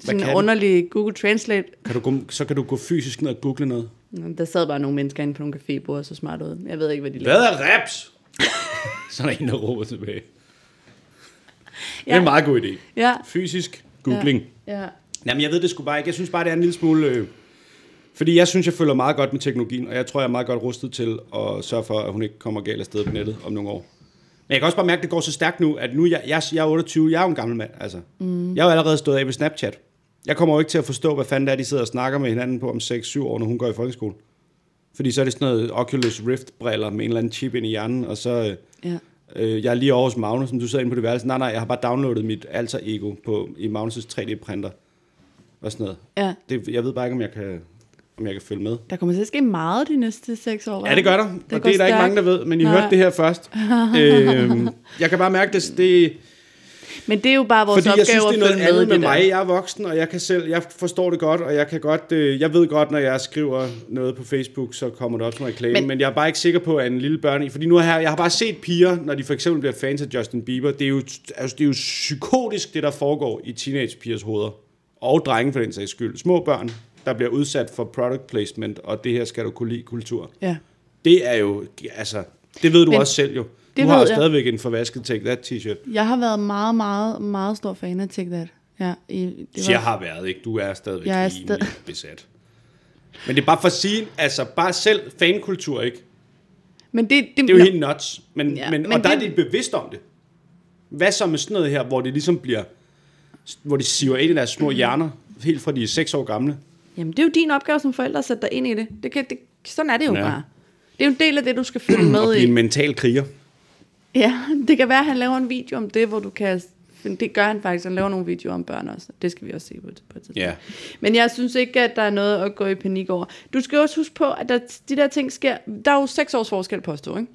sådan
kan
en
den?
underlig Google Translate.
Kan du gå, så kan du gå fysisk ned og google noget.
Nå, Der sad bare nogle mennesker inde på nogle cafébord og så smart ud. Jeg ved ikke, hvad de lavede.
Hvad er raps? så er der en, der råber tilbage. Det er
Ja.
en meget god idé.
Ja,
Fysisk googling. Ja.
ja.
Jamen, jeg ved det sgu bare ikke. Jeg synes bare, det er en lille smule... Øh, fordi jeg synes, jeg følger meget godt med teknologien, og jeg tror, jeg er meget godt rustet til at sørge for, at hun ikke kommer galt afsted på nettet om nogle år. Men jeg kan også bare mærke, at det går så stærkt nu, at nu er jeg, jeg, jeg er 28, jeg er jo en gammel mand. Altså. Mm. Jeg er jo allerede stået af ved Snapchat. Jeg kommer jo ikke til at forstå, hvad fanden det er, de sidder og snakker med hinanden på om 6-7 år, når hun går i folkeskole. Fordi så er det sådan noget Oculus Rift-briller med en eller anden chip ind i hjernen, og så... Øh,
ja.
Øh, jeg er lige over hos Magnus, som du sidder inde på det værelse. Nej, nej, jeg har bare downloadet mit alter ego på, i Magnus' 3D-printer. Og sådan noget.
ja.
Det, jeg ved bare ikke, om jeg kan, om jeg kan følge med.
Der kommer til at ske meget de næste seks år. hva'?
Ja, det gør der. Det og det er
går
der ikke
stærkt.
mange, der ved, men I
Nej.
hørte det her først. øhm, jeg kan bare mærke, det, det
Men det er jo bare vores
fordi
opgave
jeg synes, det er noget
at følge med, i
andet med
det der.
mig. Jeg er voksen, og jeg kan selv, jeg forstår det godt, og jeg kan godt, øh, jeg ved godt, når jeg skriver noget på Facebook, så kommer det op som reklame, men,
Men-
men jeg er bare ikke sikker på, at en lille børn, fordi nu har jeg, jeg har bare set piger, når de for eksempel bliver fans af Justin Bieber, det er jo, altså, det er jo psykotisk, det der foregår i teenagepigers hoveder, og drenge for den sags skyld, små børn, der bliver udsat for product placement, og det her skal du kunne lide kultur.
Ja.
Det er jo, altså, det ved du
Men
også selv jo.
det
Du har
ved
jo
jeg.
stadigvæk en forvasket Take That t-shirt.
Jeg har været meget, meget, meget stor fan af Take That. Ja, i, det
Så jeg har været, ikke? Du er stadigvæk
Jeg
jeg
er
er
stad-
stadig... besat. Men det er bare for at sige, altså bare selv fankultur, ikke?
Men det, det,
Det er jo helt nuts. Men,
Ja,
ja, men,
men
og der er
det-
de bevidst om det. Hvad så med sådan noget her, hvor det ligesom bliver, hvor de siver ind i deres små hjerner, helt fra de er 6 år gamle.
Jamen, det er jo din opgave som forælder at sætte dig ind i det. det, kan, det sådan er det jo ja.
Ja.
bare. Det er jo en del af det, du skal følge
Og
med
blive en
i.
mental kriger.
Ja, det kan være, at han laver en video om det, hvor du kan... Det gør han faktisk. Han laver nogle videoer om børn også. Det skal vi også se på, et- på et tidspunkt.
Ja.
Men jeg synes ikke, at der er noget at gå i panik over. Du skal også huske på, at der, de der ting sker... Der er jo seks års forskel på os to, ikke?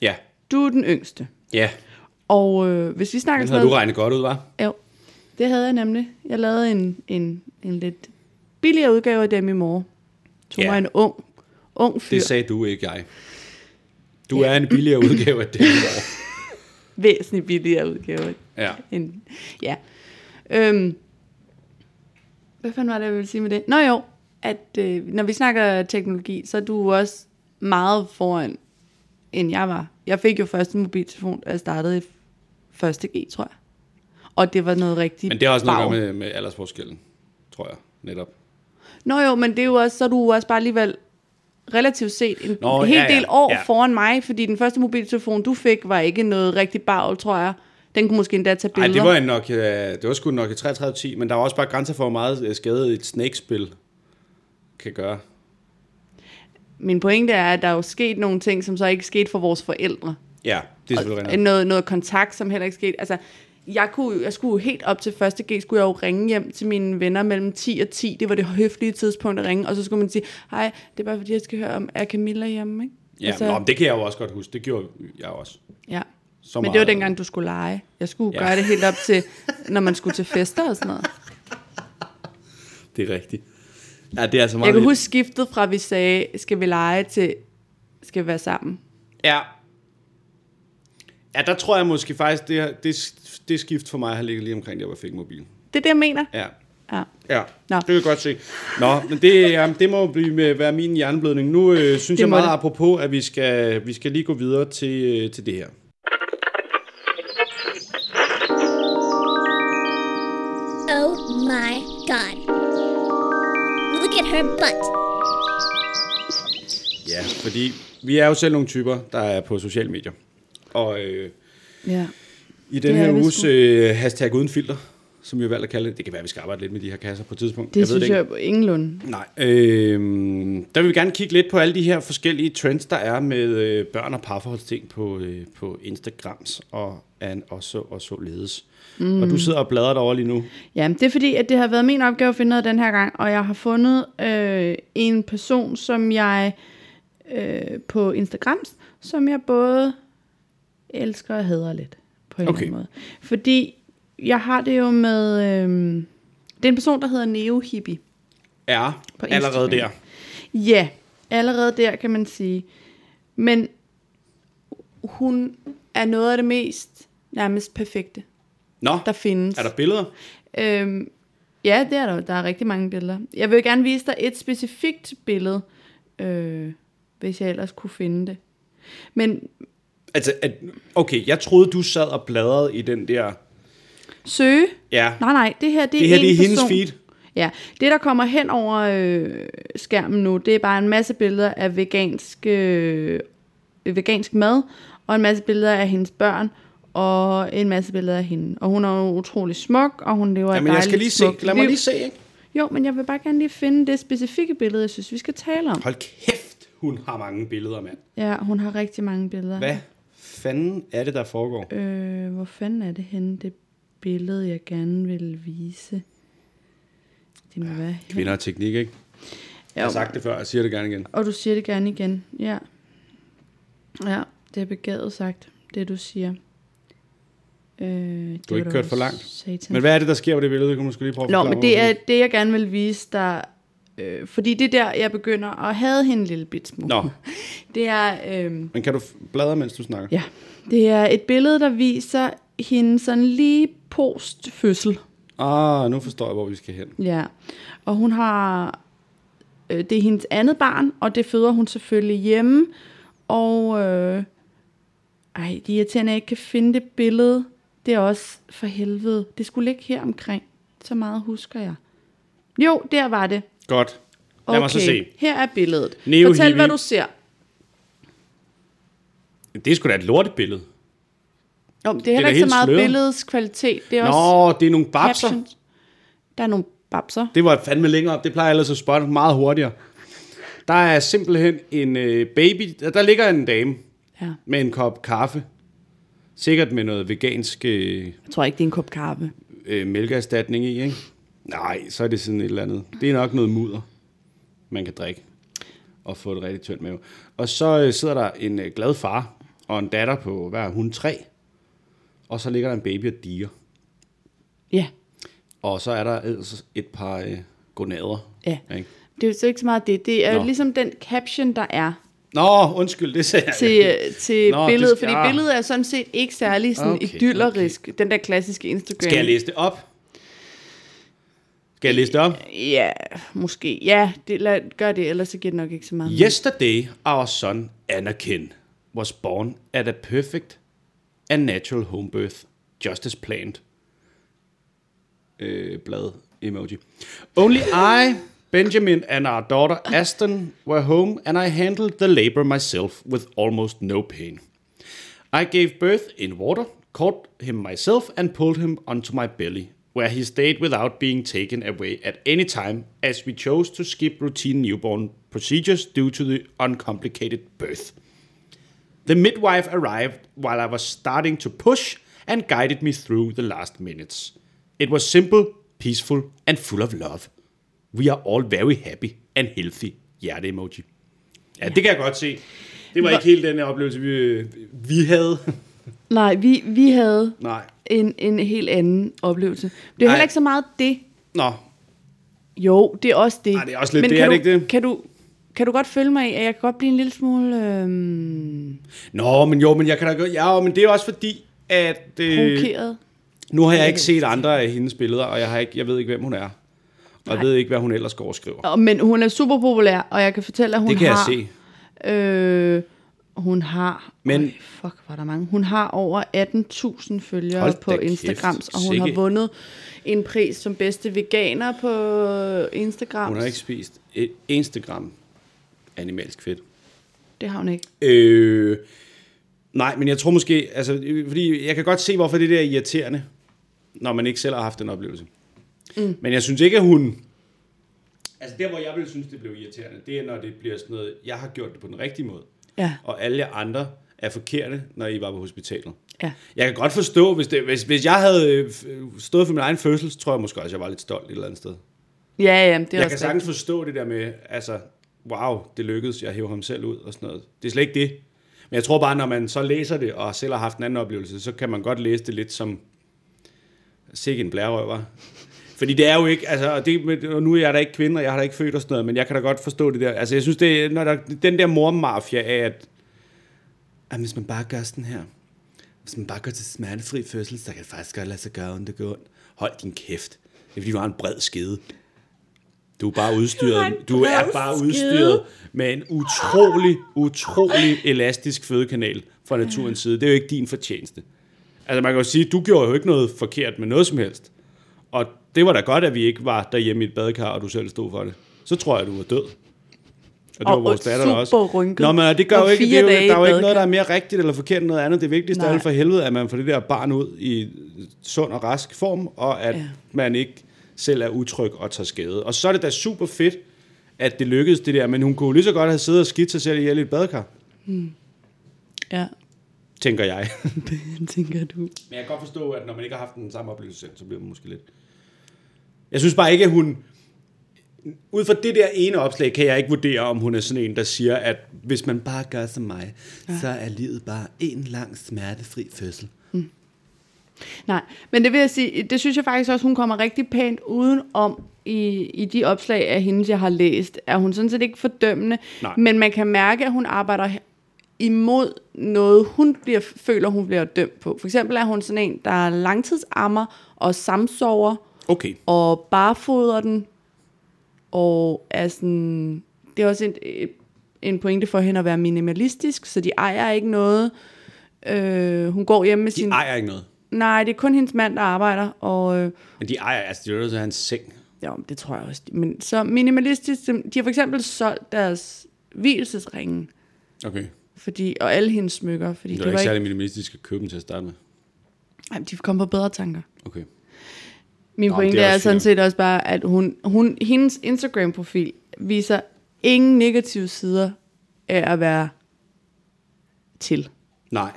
Ja.
Du er den yngste.
Ja.
Og øh, hvis vi snakker
Den
sådan
havde du
noget...
regnet godt ud, var?
Jo, det havde jeg nemlig. Jeg lavede en, en, en lidt billigere udgave af dem i morgen. Tog
Ja.
mig en ung, ung fyr.
Det sagde du ikke, jeg. Du er en billigere udgave af det.
Væsentligt billigere udgave.
Ja.
End, ja. Øhm, hvad fanden var det, jeg ville sige med det? Nå jo, at øh, når vi snakker teknologi, så er du også meget foran, end jeg var. Jeg fik jo første mobiltelefon, da jeg startede i første G, tror jeg. Og det var noget rigtig
Men det har også noget at
bag.
gøre med, med aldersforskellen, tror jeg, netop.
Nå jo, men det er jo også, så er du jo også bare alligevel relativt set en
Nå,
Nå, hel
ja, ja,
del år
ja.
foran mig, fordi den første mobiltelefon, du fik, var ikke noget rigtig bagl, tror jeg. Den kunne måske endda tage
Nej,
billeder.
det var en øh, Nokia, det var sgu en Nokia 3310, men der var også bare grænser for, hvor meget øh, skade et Snake-spil kan gøre.
Min pointe er, at der er jo sket nogle ting, som så ikke skete for vores forældre.
Ja, det er selvfølgelig
Øh,
rigtigt.
noget, noget kontakt, som heller ikke skete. Altså, jeg, kunne, jeg skulle jo helt op til 1. G, skulle jeg jo ringe hjem til mine venner mellem 10 og 10. Det var det høflige tidspunkt at ringe. Og så skulle man sige, hej, det er bare fordi, jeg skal høre om, er Camilla hjemme, ikke?
Ja, altså, nå, men det kan jeg jo også godt huske. Det gjorde jeg også.
ja.
Så
Men det var
meget.
dengang, du skulle lege. Jeg skulle
Ja.
ja. gøre det helt op til, når man skulle til fester og sådan noget.
Det er rigtigt. Ja, det er altså meget
Jeg kan
lidt-
huske skiftet fra, at vi sagde, skal vi lege til, skal vi være sammen.
Ja. Ja, der tror jeg måske faktisk, det, her- det, det skift for mig har ligget lige omkring, der hvor jeg fik mobil.
Det er det, jeg mener.
Ja.
Ja.
Ja,
Nå.
det kan jeg godt se. Nå, men det, ja, det må blive med, være min hjerneblødning. Nu øh, synes jeg
må
meget det.
det.
apropos, at vi skal, vi skal lige gå videre til, øh, til det her.
Oh my god. Look at her butt.
Ja, fordi vi er jo selv nogle typer, der er på sociale medier. Og øh,
ja.
i den
Ja,
her
vi
uges
skulle.
øh, hashtag uden filter, som vi har valgt at kalde det. Det kan være, at vi skal arbejde lidt med de her kasser på et tidspunkt.
Det
jeg
jeg
ved det
synes
ikke.
jeg på ingenlunde.
Nej. Øh, der vil vi gerne kigge lidt på alle de her forskellige trends, der er med øh, børn og parforholdsting på, øh, på Instagrams og, an, og, så, og således. Mm. Og du sidder og bladrer derovre lige nu.
Jamen, det er fordi, at det har været min opgave at finde noget den her gang, og jeg har fundet øh, en person, som jeg øh, på Instagram, som jeg både elsker og hader lidt, på en okay.
Okay.
eller anden måde. Fordi jeg har det jo med... Øh, det er en person, der hedder Neo Hippie.
Er
På
allerede der.
Instagram. Ja, allerede der kan man sige. Men hun er noget af det mest nærmest perfekte,
Nå,
der findes.
er der billeder?
Øhm, ja, det er der. jo. Der er rigtig mange billeder. Jeg vil jo gerne vise dig et specifikt billede, øh, hvis jeg ellers kunne finde det. Men
Altså, at, okay, jeg troede, du sad og bladrede i den der...
søge?
Ja,
Nej, nej, det her det er
det her
en
det er hendes
person.
feed.
Ja, det der kommer hen over øh, skærmen nu, det er bare en masse billeder af vegansk, øh, vegansk mad, og en masse billeder af hendes børn, og en masse billeder af hende. Og hun er jo utrolig smuk, og hun lever
Jamen,
et
jeg
dejligt
skal lige se.
smukt
Lad mig
liv.
lige se, ikke?
Jo, men jeg vil bare gerne lige finde det specifikke billede, jeg synes, vi skal tale om.
Hold kæft, hun har mange billeder, mand.
Ja, hun har rigtig mange billeder.
Hvad fanden er det, der foregår?
Øh, hvor fanden er det henne, det billede, jeg gerne vil vise? Det må ja, være her.
Kvinder og teknik, ikke? Jeg har
Jo,
sagt det før, jeg siger det gerne igen.
og du siger det gerne igen. Ja. Ja, det er begavet sagt, det du siger. Øh, det
Du har ikke
var
kørt
da
for langt.
Satan.
Men hvad er det, der sker på det billede? Det kan du måske lige prøve at
Nå,
forklare
men
mig,
det er
måske.
det, jeg gerne vil vise dig. Øh, fordi det er der, jeg begynder at have hende en lille bit smule.
Nå,
Det er... Øh,
men kan du f- bladre, mens du snakker?
Ja, det er et billede, der viser hende sådan lige post fødsel.
Ah, nu forstår jeg, hvor vi skal hen.
Ja, og hun har, øh, det er hendes andet barn, og det føder hun selvfølgelig hjemme. Og, øh, ej, de irriterende, at jeg ikke kan finde det billede. Det er også for helvede. Det skulle ligge her omkring. Så meget husker jeg. Jo, der var det.
Godt. Lad mig så se.
her er billedet.
Neo
Fortæl,
hippie.
hvad du ser.
Det er sgu da et lortet billede.
Jo, det er heller
da
ikke så
helt
meget
sløret.
billedets kvalitet. Det er også
Nå, det er nogle babser.
captions. Der er nogle babser.
Det var fandme længere op. Det plejer jeg ellers at spotte meget hurtigere. Der er simpelthen en øh, baby. Der ligger en dame
Ja.
med en kop kaffe. Sikkert med noget vegansk øh,
Jeg tror ikke, det er en kop kaffe.
øh, mælkeerstatning i, ikke? Nej, så er det sådan et eller andet. Det er nok noget mudder, man kan drikke og få et rigtig tyndt mave. Og så øh, sidder der en øh, glad far og en datter på hver hun tre, og så ligger der en baby og diger.
Ja,
Og så er der ellers et par øh, gonader.
ja.
Ikke?
Det er jo så ikke så meget det. Det er
Nå.
jo ligesom den caption, der er
Nå, undskyld, det sagde jeg.
til, øh, til
Nå, det
billedet.
skal-
Fordi
ah.
billedet er sådan set ikke særlig sådan
Okay,
okay, idyllerisk. Okay. Den der klassiske Instagram.
Skal jeg læse det op? Skal jeg læse det op?
Ja, måske. Ja, det, lad, gør det, ellers så giver det nok ikke så meget.
Yesterday, our son Anakin was born at a perfect and natural home birth, just as planned. Øh, blad emoji. Only I, Benjamin, and our daughter Aston were home, and I handled the labor myself with almost no pain. I gave birth in water, caught him myself, and pulled him onto my belly. where he stayed without being taken away at any time, as we chose to skip routine newborn procedures due to the uncomplicated birth. The midwife arrived while I was starting to push and guided me through the last minutes. It was simple, peaceful, and full of love. We are all very happy and healthy. Hjerte emoji. Ja, det kan jeg godt se. Det var
Hvor-
ikke helt den her oplevelse, vi, vi havde.
Nej, vi, vi havde
Nej.
en, en helt anden oplevelse. Det er
Ej.
heller ikke så meget det.
Nå,
Jo, det er også det.
Ej, det er også lidt
Men
det,
kan
er det
du,
ikke det?
Kan du, kan du godt følge mig i, at jeg kan godt blive en lille smule
Øh.
øhm,
Nå, men jo, men jeg kan da godt... Ja, men det er også fordi, at... Øh,
provokeret?
nu har jeg ikke set andre af hendes billeder, og jeg, har ikke, jeg ved ikke, hvem hun er. Og jeg
Nej.
ved ikke, hvad hun ellers går og skriver.
Øh. Men hun er super populær, og jeg kan fortælle, at hun
det kan
har...
jeg se.
Øh, hun har...
Men-
Men, øj, fuck, var der mange. Hun har over 18.000 følgere
Hold
på
da kæft,
Instagrams, og hun
sikke.
har vundet en pris som bedste veganer på Instagram.
Hun har ikke spist et eneste gram animalsk fedt.
Det har hun ikke.
Øh, nej, men jeg tror måske... Altså, øh, fordi jeg kan godt se, hvorfor det der er irriterende, når man ikke selv har haft den oplevelse. Mm. Men jeg synes ikke, at hun... Altså der, hvor jeg ville synes, det blev irriterende, det er, når det bliver sådan noget, jeg har gjort det på den rigtige måde.
Ja,
og alle jer andre er forkerte, når I var på hospitalet.
ja.
Jeg kan godt forstå, hvis, det, hvis, hvis jeg havde øh, f- stået for min egen fødsel, så tror jeg måske også, at jeg var lidt stolt et eller andet sted.
Ja, ja, det er
Jeg
også
kan sagtens forstå det der med, altså, wow, det lykkedes, jeg hæver ham selv ud og sådan noget. Det er slet ikke det. Men jeg tror bare, når man så læser det, og selv har haft en anden oplevelse, så kan man godt læse det lidt som, sikke en blærerøver. Fordi det er jo ikke, altså, og, det, men- og nu er jeg da ikke kvinde, og jeg har da ikke født og sådan noget, men jeg kan da godt forstå det der. Altså, jeg synes, det, er- når der, den der mormafia af, at, at hvis man bare gør sådan her, hvis man bare går til smertefri fødsel, så kan det faktisk godt lade sig gøre, om det går ondt. Hold din kæft. Det er fordi, du har en bred skede. Du er bare udstyret,
har en
du er
bred
bare
skede.
udstyret med en utrolig, utrolig elastisk fødekanal fra naturens side. Det er jo ikke din fortjeneste. Altså man kan jo sige, du gjorde jo ikke noget forkert med noget som helst. Og det var da godt, at vi ikke var derhjemme i et badekar, og du selv stod for det. Så tror jeg, du var død. Og det
Og-
var vores
og
datter
super
også.
rynket.
Nå, men og det gør
Og
jo ikke, det
fire
er jo,
dage i
der er jo ikke noget,
badekar.
der er mere rigtigt eller forkert end noget andet. Det vigtigste er
Nej.
jo for helvede, at man får det der barn ud i sund og rask form, og at
Ja.
man ikke selv er utryg og tager skade. Og så er det da super fedt, at det lykkedes det der, men hun kunne jo lige så godt have siddet og skidt sig selv ihjel i et badekar,
Ja,
tænker jeg.
det tænker du.
Men jeg kan godt forstå, at når man ikke har haft den samme oplevelse selv, så bliver man måske lidt... Jeg synes bare ikke, at hun... Ud fra det der ene opslag, kan jeg ikke vurdere, om hun er sådan en, der siger, at hvis man bare gør som mig, ja. så er livet bare en lang smertefri fødsel.
Nej, men det vil jeg sige, det synes jeg faktisk også, hun kommer rigtig pænt udenom i, i de opslag af hendes, jeg har læst. Er hun sådan set ikke fordømmende,
Nej.
men man kan mærke, at hun arbejder imod noget, hun bliver, føler, hun bliver dømt på. For eksempel er hun sådan en, der er langtidsammer og samsover
Okay.
og barfoder den. Og er sådan, det er også en, en pointe for hende at være minimalistisk, så de ejer ikke noget. Øh, hun går hjemme med
De
sin...
ejer ikke noget.
Nej, det er kun hendes mand, der arbejder, og øh,
Men de ejer, altså det er jo nødt til at have en seng.
jo, men det tror jeg også. Men så minimalistisk, de har for eksempel solgt deres hvilesesringe,
Okay.
fordi, og alle hendes smykker, fordi
Det
det,
er
det
ikke
var
særlig
ikke,
minimalistisk at købe dem til at starte med.
nej, de kom på bedre tanker.
Okay.
Min
Nå,
Nå,
men
pointe
det er
er,
også
sådan
fint.
set også bare, at hun, hun, hendes Instagram-profil viser ingen negative sider af at være til.
Nej.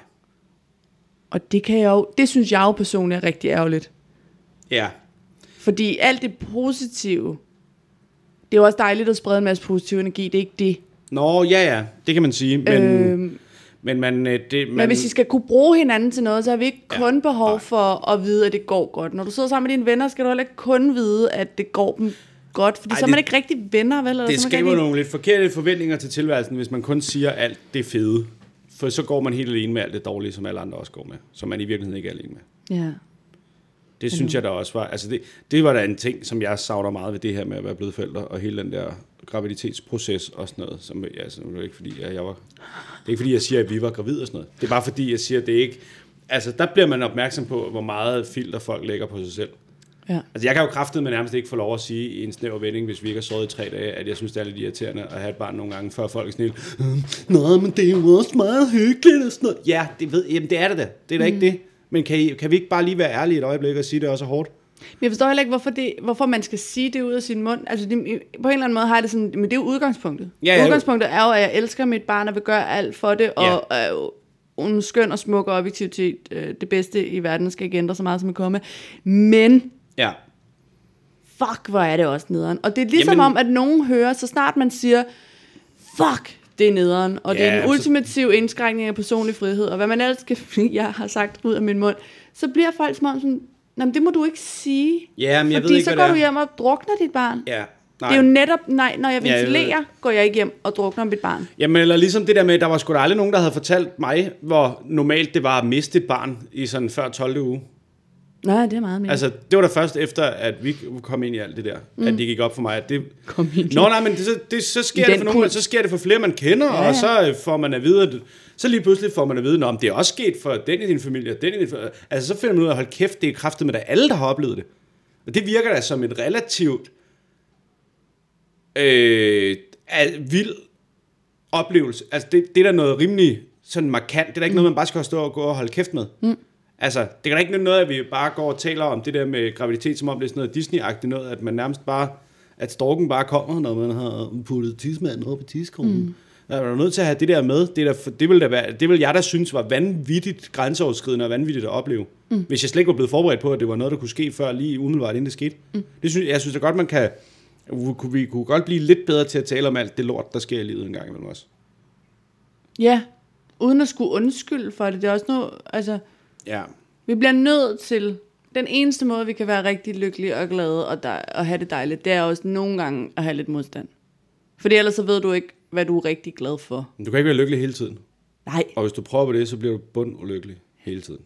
Og det kan jeg jo, det synes jeg jo personligt er rigtig ærgerligt.
Ja.
Fordi alt det positive, det er jo også dejligt at sprede en masse positiv energi, det er ikke det.
Nå, ja, ja. Det kan man sige. Men, øh,
Øhm,
men man... øh, Det, man
Men hvis I skal kunne bruge hinanden til noget, så har vi ikke kun behov for at vide, at det går godt. Når du sidder sammen med dine venner, skal du heller ikke kun vide, at det går dem godt. Fordi
Ej,
Ej, så er
det-
man ikke rigtig venner, vel? Eller
det
så er man ikke
skaber
rigtig...
nogle lidt forkerte forventninger til tilværelsen, hvis man kun siger alt det fede. For så går man helt alene med alt det dårlige, som alle andre også går med. Som man i virkeligheden ikke er alene med.
Ja.
Det synes jeg da også var... Altså det, det var da en ting, som jeg savner meget ved det her med at være blevet forældre, og hele den der graviditetsproces og sådan noget. Som, ja, altså, det er ikke fordi, at jeg var... Det er ikke fordi, jeg siger, at vi var gravide og sådan noget. Det er bare fordi, jeg siger, at det ikke... Altså, der bliver man opmærksom på, hvor meget filter folk lægger på sig selv.
ja.
Altså, jeg kan jo kraftedeme nærmest ikke få lov at sige i en snæver vending, hvis vi ikke har sovet i tre dage, at jeg synes, det er lidt irriterende at have et barn nogle gange, før folk er sådan helt, "Øh, Nå, men det er jo også meget hyggeligt og sådan noget. Ja, det, ved, jamen, det er det da. Det er da mm. ikke det. Men kan, I, kan vi ikke bare lige være ærlige et øjeblik og sige, at det også er hårdt?
Men jeg forstår heller ikke, hvorfor, det, hvorfor man skal sige det ud af sin mund. Altså, det, på en eller anden måde har jeg det sådan, men det er jo udgangspunktet.
Ja, ja.
udgangspunktet er jo, at jeg elsker mit barn og vil gøre alt for det, og
Ja.
er jo en skøn og smuk og objektivitet. øh, Det bedste i verden skal ikke ændre så meget, som det komme. Men
Ja.
fuck, hvor er det også nederen. Og det er ligesom
Jamen-
Jamen, om, at nogen hører, så snart man siger, fuck, det er nederen, og det
Ja, altså-
er en
så-
ultimativ indskrænkning af personlig frihed, og hvad man ellers kan, jeg har sagt ud af min mund, så bliver folk som om sådan, Nå, men det må du ikke sige.
Ja, men jeg ved
fordi
ikke,
så
hvad
går
det er."
du hjem og drukner dit barn.
Ja.
Nej. Det er jo netop, nej, når jeg
Ja, jeg ved
ventilerer, ja, går jeg ikke hjem og drukner mit barn.
Jamen, eller ligesom det der med, der var sgu da aldrig nogen, der havde fortalt mig, hvor normalt det var at miste et barn i sådan før 12. uge.
Nej, det er meget mere. Altså,
Altså, det var da først efter, at vi kom ind i alt det der, mm. at det gik op for mig, at det...
Kom ind i-
Nå, nej, men det, så, det, så, sker
I
det
den
for nogen,
kult.
så sker det for flere, man kender, ja, ja.
ja.
og så øh, får man at vide, at, så lige pludselig får man at vide, om det er også sket for den i din familie, og den i din familie. Altså, så finder man ud af, hold kæft, det er kraftet med, at alle, der har oplevet det. Og det virker da som et relativt øh, al- vild oplevelse. Altså, det, det er da noget rimelig sådan markant. Det er da ikke mm. noget, man bare skal stå og gå og holde kæft med. Mm. Altså, det kan da ikke nytte noget, at vi bare går og taler om det der med graviditet, som om det er sådan noget Disney-agtigt noget, at man nærmest bare, at storken bare kommer, når man har puttet tidsmanden op i tidskronen. Mm. Man er jo nødt til at have det der med. Det, er da, det, vil da være, det vil jeg da synes var vanvittigt grænseoverskridende og vanvittigt at opleve. Mm. Hvis jeg slet ikke var blevet forberedt på, at det var noget, der kunne ske før lige umiddelbart, inden det skete. Mm. Det synes, jeg synes da godt, man kan... Vi kunne, vi kunne godt blive lidt bedre til at tale om alt det lort, der sker i livet en gang imellem også.
ja, uden at skulle undskylde for det. Det er også noget, altså,
Ja.
Vi bliver nødt til, den eneste måde, vi kan være rigtig lykkelige og glade og, dej, og have det dejligt, det er også nogle gange at have lidt modstand. Fordi ellers så ved du ikke, hvad du er rigtig glad for.
Men du kan ikke være lykkelig hele tiden.
Nej,
Og hvis du prøver på det, så bliver du bund ulykkelig hele tiden.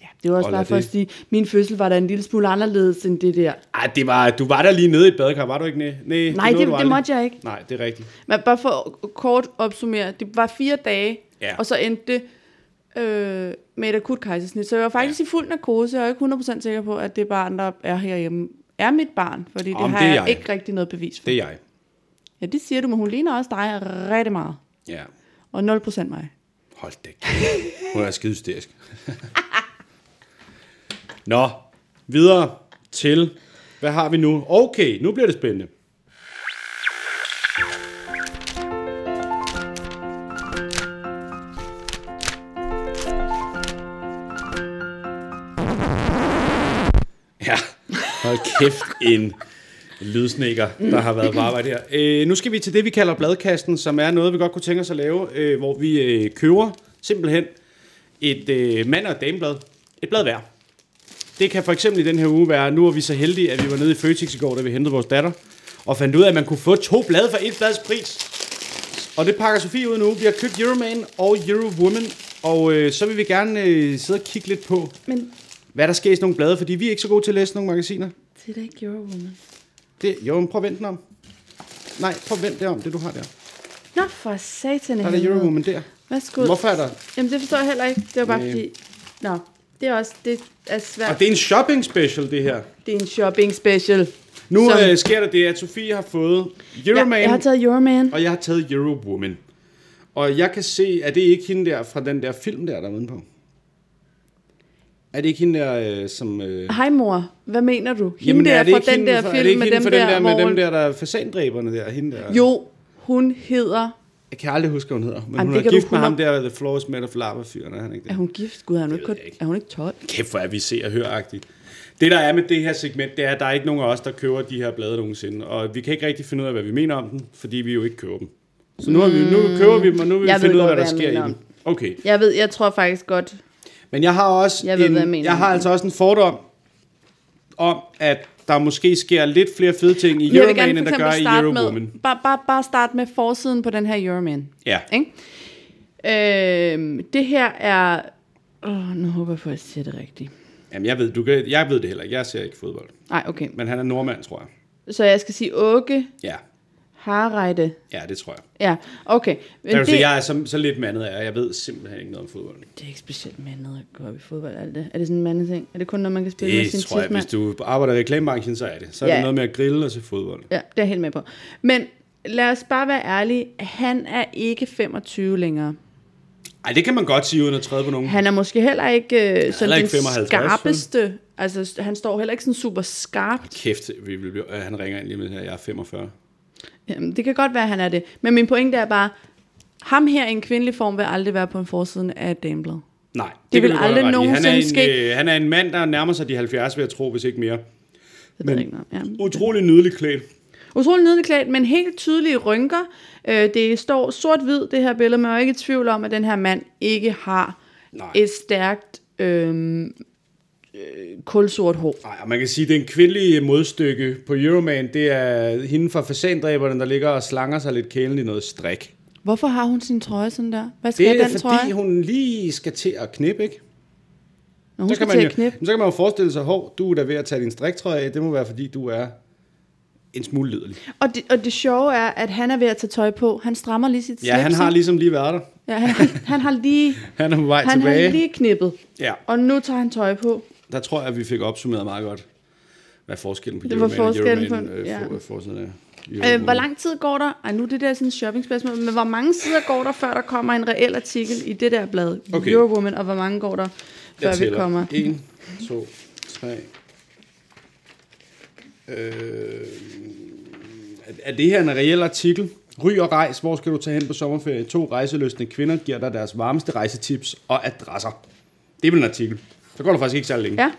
ja, det var også
og
bare
lad
for at
det-
sige, min fødsel var da en lille smule anderledes end det der.
Ej, det var, du var der lige nede i et badekar, var du ikke? Næ, næ,
Nej,
nåede
det-
du
det
aldrig.
måtte jeg ikke.
Nej, det er rigtigt.
Men bare for at kort opsummere, det var fire dage,
Ja.
og så endte det øh, med et akut kejsersnit. Så jeg var faktisk ja. i fuld narkose, og jeg er ikke 100% sikker på, at det barn, der er herhjemme, er mit barn. Fordi det
Om
har
det er
jeg
jeg.
ikke rigtig noget bevis for.
Det er jeg.
Ja, det siger du, men hun ligner også dig rigtig meget.
Ja.
Og 0% mig.
Hold da kæft. Hun er skide hysterisk. Nå, videre til... Hvad har vi nu? Okay, nu bliver det spændende. Ja, hold kæft en lydsnikker, der har været på arbejde her. Øh, nu skal vi til det, vi kalder bladkasten, som er noget, vi godt kunne tænke os at lave, øh, hvor vi øh, køber simpelthen et øh, mand- og et dameblad. Et blad hver. Det kan for eksempel i den her uge være, nu var vi så heldige, at vi var nede i Føtex i går, da vi hentede vores datter, og fandt ud af, at man kunne få to blade for et blads pris. Og det pakker Sofie ud nu. Vi har købt Euroman og Eurowoman, og øh, så vil vi gerne øh, sidde og kigge lidt på,
Men
hvad der sker i sådan nogle blade, fordi vi er ikke så gode til at læse nogle magasiner.
det er da ikke Eurowoman.
Det, jo, men prøv at vente den om. Nej, prøv at vente det om, det du har der.
Nå, for satan. i
Der er der
helvede.
Eurowoman der.
Værsgo.
Hvorfor er der?
Jamen, det forstår jeg heller ikke. Det var bare
Næh.
fordi... Nå, det er også... Det er svært.
Og det er en shopping special, det her.
det er en shopping special.
Nu
Som-
øh, sker der det, at Sofie har fået Euroman,
Jeg, jeg har taget Euroman.
og jeg har taget Eurowoman. Og jeg kan se, at det ikke hende der fra den der film der, der er nedenpå? Er det ikke hende der, øh, som... Øh...
Hej, mor. Hvad mener du? Hende
Jamen,
der
er det
fra
ikke
den
hende
der
fra- er det
film
ikke
med
hende
dem
fra
der,
den der,
hvor...
med dem der, der er fasandræberne der, hende der?
Jo, hun hedder...
Jeg kan aldrig huske, hvad hun hedder, men Jamen,
Jamen, det
hun er
kan du
gift med ham
100
der, The Floor is Made of Lava fyren, er han ikke det?
Er hun gift? Gud, er hun, ikke,
ved jeg
kun-
ikke.
er hun ikke 12?
Kæft, hvor er vi se og høragtigt. Det, der er med det her segment, det er, at der er ikke nogen af os, der køber de her blade nogensinde. Og vi kan ikke rigtig finde ud af, hvad vi mener om dem, fordi vi jo ikke køber dem. Så nu, har vi, nu køber vi dem, og nu vil vi
Mm. Jeg ved
finde ud af,
godt,
hvad der
hvad
sker
jeg
i
mener
dem.
om.
Okay,
Jeg ved, jeg tror faktisk godt...
men jeg har også
Jeg ved,
en,
hvad jeg mener
jeg har
om.
altså også en fordom om, at der måske sker lidt flere fede ting i
Jeg vil gerne
Euroman, end
for
der
eksempel
gør i
starte
Eurowoman.
med, bare, bare, bare starte med forsiden på den her Euroman.
Ja.
Ikke? Øhm, det her er... Åh, nu håber jeg på, at jeg siger det rigtigt.
Jamen, jeg ved, du kan, jeg ved det heller ikke. Jeg ser ikke fodbold.
Nej, okay.
Men han er nordmand, tror jeg.
Så jeg skal sige Åke
Ja,
Harreide.
ja det tror jeg.
Ja, okay. Men
Der,
det,
det... sige, jeg er så, så lidt mandet af, og jeg ved simpelthen ikke noget om fodbold.
det er ikke specielt mandet at gå op i fodbold. Er det, er det sådan en mandeting? Er det kun, når man kan spille med
Det
sin
tror jeg,
tidsmand?
hvis du arbejder i reklamebranchen, så er det. Så er
Ja.
ja. det noget med at grille og se fodbold.
Ja, det er jeg helt med på. Men lad os bare være ærlige. Han er ikke 25 længere.
Ej, det kan man godt sige uden at træde på nogen.
Han er måske heller ikke øh, sådan
heller
den
ikke 55, vel?
skarpeste Altså, s- han står heller ikke sådan super skarpt.
Kæft, vi vil blive, øh, han ringer ind lige med her, jeg er 45.
Jamen, Øhm, det kan godt være, at han er det. Men min pointe er bare, ham her i en kvindelig form vil aldrig være på en forsiden af Dameblad.
Nej, det, kan
vil
du godt
aldrig
have ret i. han er
nogensinde
en,
ske.
Øh, han er en mand, der nærmer sig de 70, vil jeg tro, hvis ikke mere.
Det ved
Men-
jeg ikke noget. om. Ja.
Utrolig nydelig klædt.
Utrolig nedklædt, men helt tydelige rynker. Øh, det står sort-hvid, det her billede. Man er jo ikke i tvivl om, at den her mand ikke har
Nej.
et stærkt øh, øh, kulsort hår.
Nej, og man kan sige, at det er en kvindelig øh, modstykke på Euroman. Det er hende fra fasandræberne, der ligger og slanger sig lidt kælen i noget strik.
Hvorfor har hun sin trøje sådan der? Hvad skal
Det er
den
fordi,
trøje? Hun,
hun lige skal til at knippe, ikke?
Nå, hun
Så
skal
kan,
til
man jo,
at knippe.
så kan man jo forestille sig, hov, du er da ved at tage din striktrøje af. Det må være, fordi du er en smule liderlig.
Og det, og det sjove er, at han er ved at tage tøj på. Han strammer lige sit
Ja, han
slips,
har
ikke?
ligesom lige været der.
Ja, han, har- han har lige,
Han er på vej
han
tilbage.
har lige knippet.
Ja,
Og nu tager han tøj på.
der tror jeg, at vi fik opsummeret meget godt, hvad forskellen på
Det var
Euroman og
forskellen
Euroman,
på-
øh,
ja.
for, øh, forsiden er. Mm-hmm.
Øh, hvor lang tid går der? Ej, nu er det der sådan et shoppingspørgsmål, men hvor mange sider går der, før der kommer en reel artikel i det der blad,
Okay.
okay. Eurowoman, og hvor mange går der, før vi kommer?
1, 2, 3. Øh, er det her en reel artikel? Ry og rejs, hvor skal du tage hen på sommerferie? To rejseløsne kvinder giver dig deres varmeste rejsetips og adresser. Det er vel en artikel. Så går der faktisk ikke særlig længe.
Ja,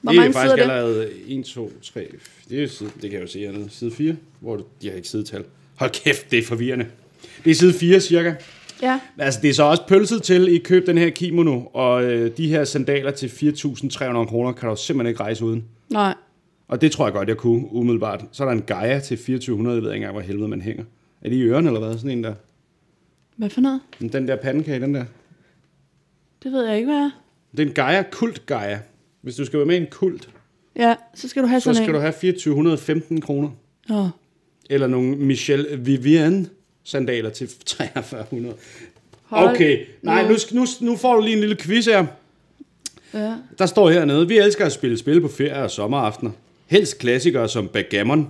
hvor
det er
mange
faktisk
sider det?
allerede 1, 2, 3, det, er jo side, det kan jeg jo se hernede. Side 4, hvor du, de har ikke sidetal. Hold kæft, det er forvirrende. Det er side 4 cirka.
Ja,
Altså, det er så også pølset til, I køb den her kimono, og øh, de her sandaler til 4.300 kroner kan du simpelthen ikke rejse uden.
nej.
Og det tror jeg godt, jeg kunne, umiddelbart. Så er der en Gaia til 2.400, jeg ved ikke engang, hvor helvede man hænger. Er det i ørerne eller hvad? Sådan en der.
Hvad for noget?
Den der pandekage, den der.
Det ved jeg ikke, hvad er.
Det er en Gaia, kult Gaia. Hvis du skal være med i en kult,
Ja, så skal du have
så
sådan
skal
en.
du have 2.415 kroner.
Åh,
Eller nogle Michel Vivian sandaler til 4.300.
hold
Okay, nej, nu, sk- nu, nu får du lige en lille quiz her.
Ja.
Der står hernede, vi elsker at spille spil på ferie og sommeraftener. Helst klassikere som Backgammon.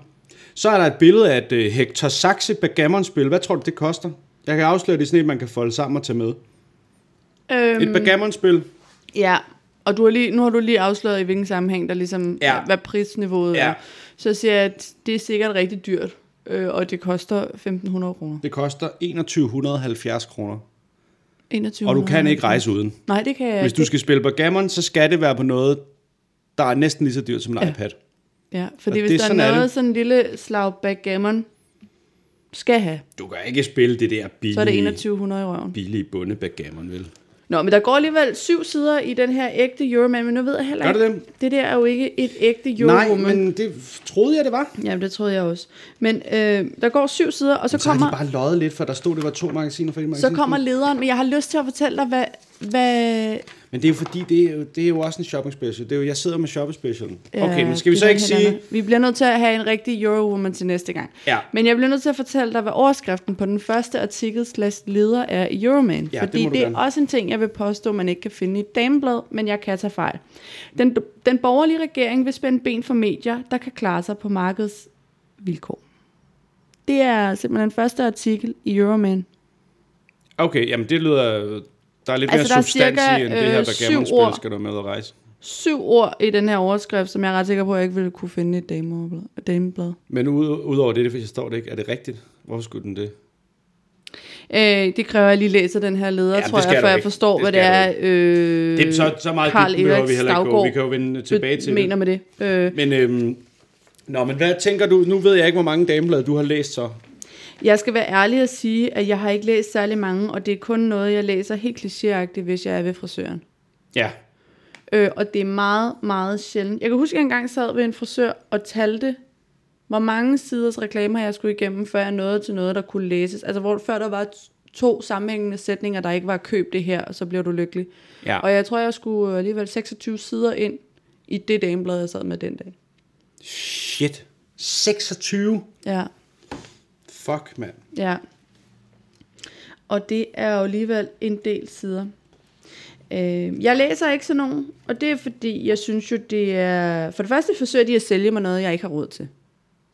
Så er der et billede af et øh, Hector Saxe Backgammon-spil. Hvad tror du, det koster? Jeg kan afsløre, det er sådan et, man kan folde sammen og tage med.
Øhm,
Et Backgammon-spil.
ja, og du har lige, nu har du lige afsløret, i hvilken sammenhæng der ligesom,
Ja.
ja. hvad prisniveauet
Ja.
er. Så siger jeg, at det er sikkert rigtig dyrt, øh, og det koster 1.500 kroner.
Det koster 2170 kroner.
2100.
Og du kan ikke rejse uden.
Nej, det kan jeg
Hvis
ikke.
du skal spille Backgammon, så skal det være på noget, der er næsten lige så dyrt som en iPad.
Ja,
Og
fordi hvis
det-
der er
sådan er
noget
det.
sådan en lille slag backgammon skal have,
Du kan ikke spille det der billige,
så er det 2100 i røven.
billige bunde Backgammon, vel?
Nå, men der går alligevel syv sider i den her ægte Euroman, men nu ved jeg heller
Gør
ikke.
det det?
Det der er jo ikke et ægte
Nej,
Eurowoman.
men det troede jeg, det var.
Jamen, det troede jeg også. Men øh, der går syv sider, og så,
Så har de
kommer,
bare løjet lidt, for der stod, det var to magasiner for et magasin.
så kommer lederen. Men jeg har lyst til at fortælle dig, hvad... hvad
Men det er jo fordi, det er jo, det er jo også en shopping special. Det er jo, jeg sidder med shopping special.
Ja,
okay, men skal vi
Øh, det
så
er
ikke
helt
sige...
andet. Vi bliver nødt til at have en rigtig Eurowoman til næste gang.
Ja.
Men jeg bliver nødt til at fortælle dig, hvad overskriften på den første artikel slash leder er i Euroman.
Ja, det
fordi
må du
det er
gerne.
også en ting, jeg vil påstå, man ikke kan finde i et dameblad, men jeg kan tage fejl. Den, den borgerlige regering vil spænde ben for medier, der kan klare sig på markedsvilkår. Det er simpelthen første artikel i Euroman.
Okay, jamen det lyder... Der er lidt
Altså,
altså,
der er
mere substans
cirka,
i, end det her
øh, syv
backgammon-spil,
ord.
skal du med at rejse.
Syv ord i den her overskrift, som jeg er ret sikker på, at jeg ikke ville kunne finde i et dameblad. dameblad.
Men ud- udover det, det jeg står det ikke. Er det rigtigt? Hvorfor skulle den det?
Øh, det kræver, at jeg lige læser den her leder,
Jamen,
ja,
det
tror
skal
jeg, for
du
jeg
ikke.
forstår,
Det
det hvad det
skal du
er, øh,
det er så, så meget
Carl
dybt behøver
Erik
vi heller ikke gå.
Staugaard
Vi kan jo vende tilbage til
mener
det.
med det. Øh,
Men, øhm, nå, men hvad tænker du? Nu ved jeg ikke, hvor mange dameblade du har læst så.
jeg skal være ærlig og sige, at jeg har ikke læst særlig mange, og det er kun noget, jeg læser helt klichéagtigt, hvis jeg er ved frisøren.
Ja,
Øh, og det er meget, meget sjældent. Jeg kan huske, at jeg engang sad ved en frisør og talte, hvor mange siders reklamer jeg skulle igennem, før jeg nåede til noget, der kunne læses. Altså, hvor før der var to sammenhængende sætninger, der ikke var køb det her, og så bliver du lykkelig.
Ja.
Og jeg tror, jeg skulle øh, alligevel 26 sider ind i det dameblad, jeg sad med den dag.
shit. 26?
Ja,
Fuck, mand.
ja. Og det er jo alligevel en del sider. Øh, jeg læser ikke sådan nogen, og det er fordi, jeg synes jo, det er... For det første forsøger de at sælge mig noget, jeg ikke har råd til.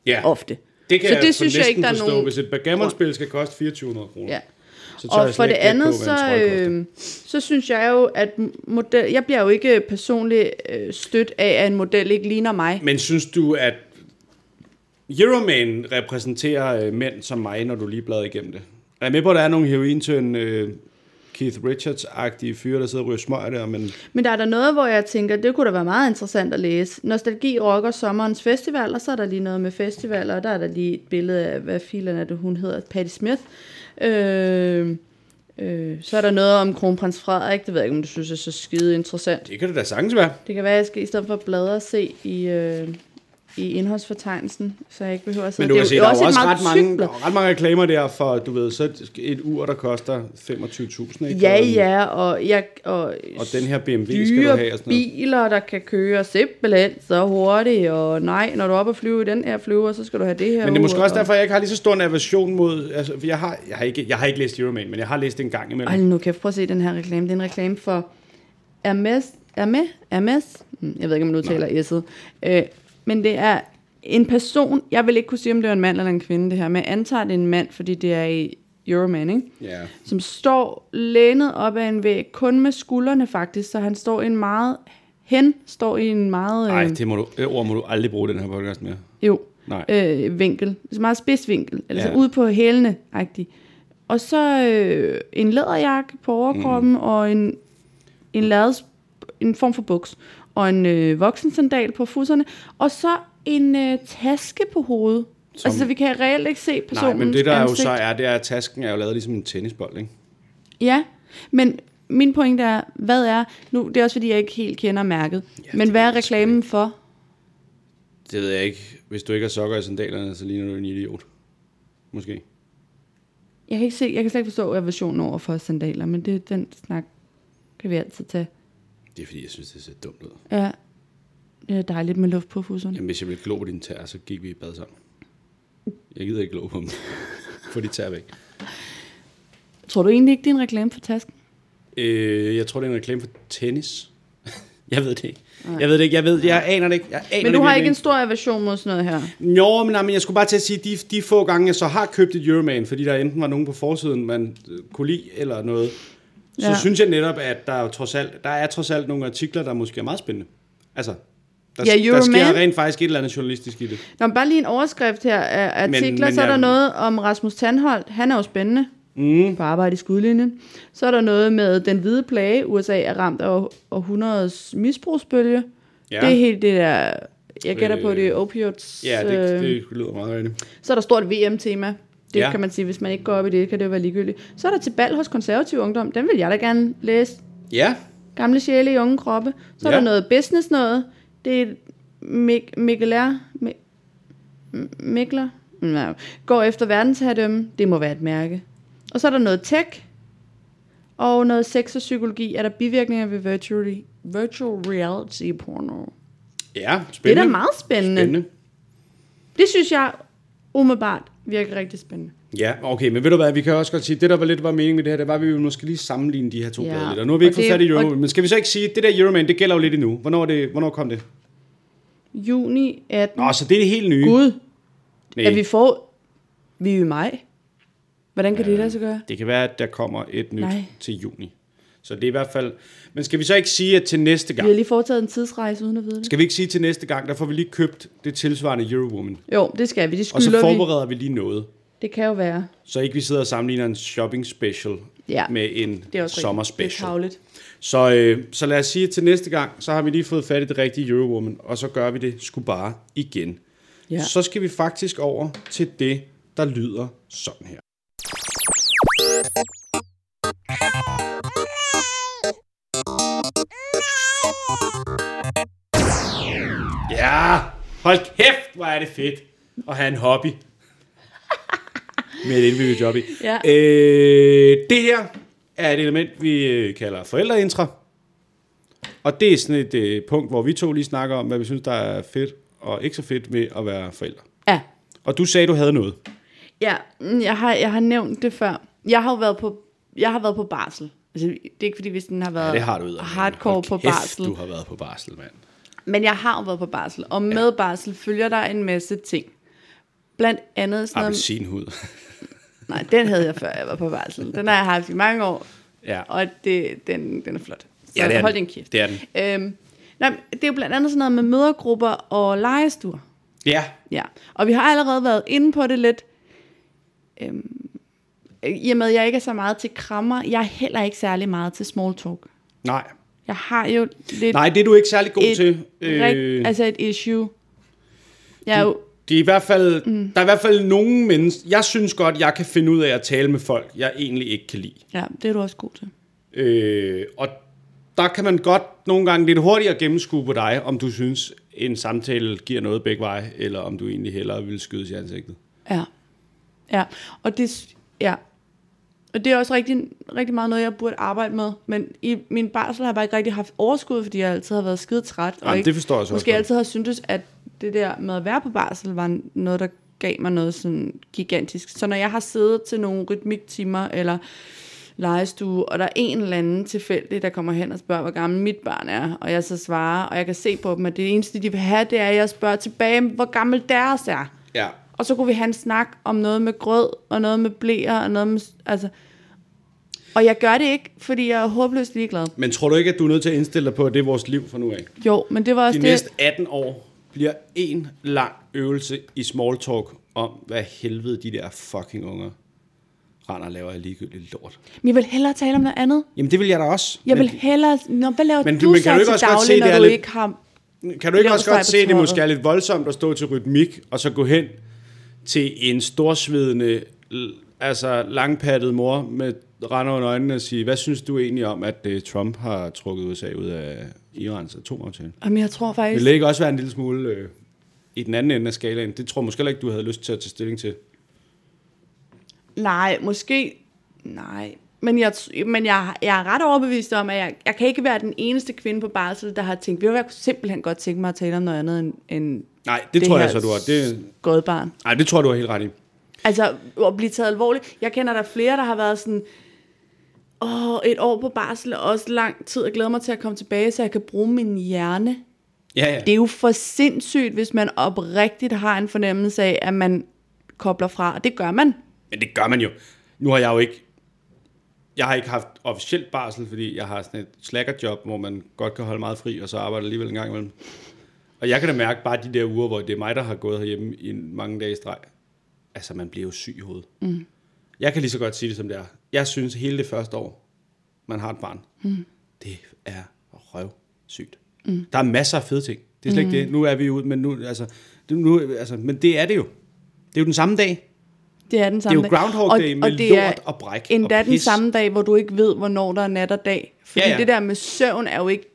Ja,
ofte.
det kan
så
jeg
det
for
synes jeg
næsten
ikke, der er
forstå,
nogen...
hvis et backgammon-spil skal koste 2400 kroner.
Ja.
Så tør
Og
jeg
for
slet
det
ikke gætte
andet,
på,
så,
hvad en trøje koster.
øh, så synes jeg jo, at model, jeg bliver jo ikke personligt øh, stødt af, at en model ikke ligner mig.
Men synes du, at Euroman repræsenterer øh, mænd som mig, når du lige bladrer igennem det? Jeg er med på, at der er nogle herointøn øh, Keith Richards-agtige fyre, der sidder og ryger smøger der, men
Men der er der noget, hvor jeg tænker, det kunne da være meget interessant at læse. Nostalgi rocker sommerens festival, og så er der lige noget med festival, og der er der lige et billede af, hvad filen er det, hun hedder, Patti Smith. Øh, øh, så er der noget om kronprins Frederik, det ved jeg ikke, om du synes er så skide interessant.
det kan det da sagtens være.
Det kan være, at jeg skal i stedet for bladre se i, øh, i indholdsfortegnelsen, så jeg ikke behøver at
Men
sidde.
du kan
det
se, der er jo
et
også ret
meget tykt
mange, der
blad.
er ret mange reklamer der for, du ved, så et ur, der koster 25.000, ikke?
Ja,
Og-
ja, og, jeg, og,
Og den her BMW skal du
dyre
have og sådan noget.
biler, der kan køre simpelthen så hurtigt, og nej, når du er oppe og flyve i den her flyver, så skal du have det her
Men det er måske
ur,
også
og-
derfor, jeg ikke har lige så stor en aversion mod... Altså, for jeg, har, jeg, har ikke, jeg har ikke læst Euroman, men jeg har læst det en gang imellem.
Ej, nu kan jeg prøve at se den her reklame. Det er en reklame for Hermes. Hermes? Hermes? Hmm, Jeg ved ikke, om man udtaler S'et. Øh, men det er en person, jeg vil ikke kunne sige, om det er en mand eller en kvinde, det her, men jeg antager, det er en mand, fordi det er i Euroman, ikke?
Ja.
som står lænet op ad en væg, kun med skuldrene faktisk, så han står i en meget, hen står i en meget,
Ej,
øh,
det må du, det ord må du aldrig bruge i den her podcast mere.
jo,
Nej.
øh, vinkel, så meget spidsvinkel, altså
Ja.
ja. ude på hælene agtig. Og så øh, en læderjakke på overkroppen mm. og en en lades, en form for buks og en øh, voksensandal på fusserne og så en øh, taske på hovedet. Som... Altså så vi kan reelt ikke se
Nej,
personens
men det der er jo
ansigt.
så er, det er, at tasken er jo lavet ligesom en tennisbold, ikke?
Ja, men min pointe er, hvad er, nu det er også fordi, jeg ikke helt kender mærket, ja, men
det
hvad
ved
er
jeg sgu
reklamen for?
Det ved jeg ikke. Hvis du ikke har sokker i sandalerne, så ligner du en idiot. Måske.
Jeg kan, ikke se, jeg kan slet ikke forstå aversionen over for sandaler, men det er den snak, kan vi altid tage.
Det er fordi, jeg synes, det ser dumt ud.
Ja, det er dejligt med luft på fuserne.
Jamen, hvis jeg ville glo på dine tær, så gik vi i bad sammen. Jeg gider ikke glo på dem. Få de tær væk.
Tror du egentlig ikke, det er en reklame for tasken?
Øh, jeg tror, det er en reklame for tennis. jeg ved det ikke. Jeg ved det ikke. Jeg, ved, jeg aner det ikke. Jeg aner
Men du
det
har
virkelig
ikke en stor aversion mod sådan noget her.
Jo, men, nej, men jeg skulle bare til at sige, de, de få gange, jeg så har købt et Euroman, fordi der enten var nogen på forsiden, man øh, kunne lide eller noget, så ja.
Ja.
synes jeg netop, at der er, jo trods alt, der er trods alt nogle artikler, der måske er meget spændende. Altså, der,
Ja,
der sker
Euroman.
rent faktisk et eller andet journalistisk i det.
Nå, men bare lige en overskrift her af
Men-
artikler.
men
Men, men så er
jeg-
der noget om Rasmus Tandholt. Han er jo spændende mm. på arbejde i skudlinjen. Så er der noget med den hvide plage. USA er ramt af århundredets misbrugsbølge.
Ja.
Ja. Det er helt det der... Jeg gætter øh, på,
Øh,
det er opioids.
Ja, det,
øh,
det lyder meget rigtigt.
Så er der stort VM-tema. Det
Ja.
ja. kan man sige, hvis man ikke går op i det, kan det jo være ligegyldigt. Så er der til bal hos konservativ ungdom. Den vil jeg da gerne læse.
Ja,
Gamle sjæle i unge kroppe. Så er
Ja.
der noget business noget. Det er Mik- Mikkel R. Mi- M- Mikler. Nej. Går efter verdensherredømme. Det må være et mærke. Og så er der noget tech. Og noget sex og psykologi. Er der bivirkninger ved virtual, virtual reality porno?
ja spændende.
Det er da meget spændende. spændende.
spændende.
Det synes jeg umiddelbart virker rigtig spændende.
Ja, okay, men ved du hvad, vi kan også godt sige, det der var lidt var meningen med det her, det var, at vi ville måske lige sammenligne de her to
Ja.
blade lidt. Og nu har vi ikke
Og
fået
det-
fat i Euroman,
og-
men skal vi så ikke sige, at det der Euroman, det gælder jo lidt endnu. Hvornår, er det, hvornår kom det?
Juni 18.
Nå, så det er det helt nye.
Gud,
Nej.
at vi får... Vi er jo i maj. Hvordan kan ja. det lade sig gøre?
Det kan være, at der kommer et nyt Nej.
Nej.
til juni. Så det er i hvert fald... Men skal vi så ikke sige, at til næste
Vi har
gang...
lige foretaget en tidsrejse uden at vide det.
Skal vi ikke sige til næste gang, der får vi lige købt det tilsvarende Eurowoman.
Jo, det skal vi. Det
Og så
skylder vi.
forbereder vi lige noget.
Det kan jo være.
Så ikke vi sidder og sammenligner en shopping special
Ja,
med en
Det er også
sommer
rigtigt. Det er
special.
tavligt.
Så, øh, så lad os sige, at til næste gang, så har vi lige fået fat i det rigtige Eurowoman, og så gør vi det sgu bare igen.
Ja.
Så skal vi faktisk over til det, der lyder sådan her. Ja, hold kæft, hvor er det fedt at have en hobby. Med et indbygget job i.
Ja.
Øh, det her er et element, vi øh, kalder forældreintra. Og det er sådan et øh, punkt, hvor vi to lige snakker om, hvad vi synes, der er fedt og ikke så fedt ved at være forældre.
Ja.
Og du sagde, du havde noget.
Ja, mm, jeg har, jeg har nævnt det før. Jeg har jo været på, jeg har været på barsel. Altså, det er ikke fordi, hvis den har været
Ja, det har du ud af.
hardcore på barsel.
du har været på barsel, mand.
Men jeg har jo været på barsel, og med barsel følger der en masse ting. Blandt andet sådan noget,
Appelsinhud.
Nej, den havde jeg før, jeg var på varsel. Den har jeg haft i mange år,
Ja.
og det, den, den er flot. Så
Ja, det er
hold
den.
din kæft.
Det er den.
Øhm, nej, men det er jo blandt andet sådan noget med mødergrupper og legestuer.
Ja,
Ja, og vi har allerede været inde på det lidt. Øhm, I og med, at jeg ikke er så meget til krammer, jeg er heller ikke særlig meget til small talk.
nej.
Jeg har jo lidt
Nej, det er du ikke særlig god
et,
til.
øh, altså et issue. Jeg er jo,
Det er i hvert fald, mm. Der er i hvert fald nogen mennesker... Jeg synes godt, jeg kan finde ud af at tale med folk, jeg egentlig ikke kan lide.
ja, det er du også god til.
Øh, og der kan man godt nogle gange lidt hurtigere gennemskue på dig, om du synes, en samtale giver noget begge veje, eller om du egentlig hellere vil skydes i ansigtet.
Ja. Ja, og det, s- ja. Og det er også rigtig, rigtig meget noget, jeg burde arbejde med. Men i min barsel har jeg bare ikke rigtig haft overskud, fordi jeg altid har været skide træt. Og
Jamen,
ikke,
det forstår jeg så også
Måske
godt.
altid har syntes, at det der med at være på barsel var noget, der gav mig noget sådan gigantisk. Så når jeg har siddet til nogle rytmiktimer eller legestue, og der er en eller anden tilfældig, der kommer hen og spørger, hvor gammel mit barn er, og jeg så svarer, og jeg kan se på dem, at det eneste, de vil have, det er, at jeg spørger tilbage, hvor gammel deres er.
Ja.
Og så kunne vi have en snak om noget med grød, og noget med blæer, og noget med... Altså, og jeg gør det ikke, fordi jeg er håbløst ligeglad.
Men tror du ikke, at du er nødt til at indstille dig på, at det er vores liv fra nu af?
Jo, men det var også
De
det...
næste 18 år bliver en lang øvelse i small talk om, hvad helvede de der fucking unger render og laver af ligegyldigt lort.
Men jeg vil hellere tale om noget andet.
Jamen det vil jeg da også.
Jeg
men
vil hellere... Nå, hvad laver
Men
men,
du-
du,
men
så
kan du ikke
til
også godt
daglig,
se, det
når
er
du
lidt-
ikke har...
kan du ikke
laver
også
steg på
godt se, at det
torvet?
måske er lidt voldsomt at stå til rytmik, og så gå hen til en storsvedende, l- altså langpattet mor med render under øjnene og sige, hvad synes du egentlig om, at øh, Trump har trukket USA ud af Irans atomaftale?
Jamen, jeg tror faktisk...
Vil det ikke også være en lille smule øh, i den anden ende af skalaen? Det tror jeg måske heller ikke, du havde lyst til at tage stilling til.
Nej, måske... Nej. Men jeg, men jeg, jeg er ret overbevist om, at jeg, jeg kan ikke være den eneste kvinde på barsel, der har tænkt, ved du hvad, jeg kunne simpelthen godt tænke mig at tale om noget andet end, end
Nej, det, det tror
her
jeg så, du har. Det,
skodbarn.
nej, det tror jeg, du har helt ret i.
Altså, at blive taget alvorligt. Jeg kender der flere, der har været sådan, åh, et år på barsel er også lang tid, og glæder mig til at komme tilbage, så jeg kan bruge min hjerne.
Ja, ja.
Det er jo for sindssygt, hvis man oprigtigt har en fornemmelse af, at man kobler fra, og det gør man.
Men det gør man jo. Nu har jeg jo ikke... Jeg har ikke haft officielt barsel, fordi jeg har sådan et slackerjob, hvor man godt kan holde meget fri, og så arbejder alligevel en gang imellem. Og jeg kan da mærke bare de der uger, hvor det er mig, der har gået herhjemme i en mange dage i streg. Altså, man bliver jo syg i hovedet. Mm. Jeg kan lige så godt sige det, som det er. Jeg synes, hele det første år, man har et barn, mm. det er røvsygt. Mm. Der er masser af fede ting. Det er slet mm. ikke det. Nu er vi ude, men nu, altså, det, nu, altså, men det er det jo. Det er jo den samme dag.
Det er den samme
Det er jo Groundhog Day med lort og bræk og
endda den
pis.
samme dag, hvor du ikke ved, hvornår der er nat og dag. Fordi
Ja, ja.
det der med søvn er jo ikke...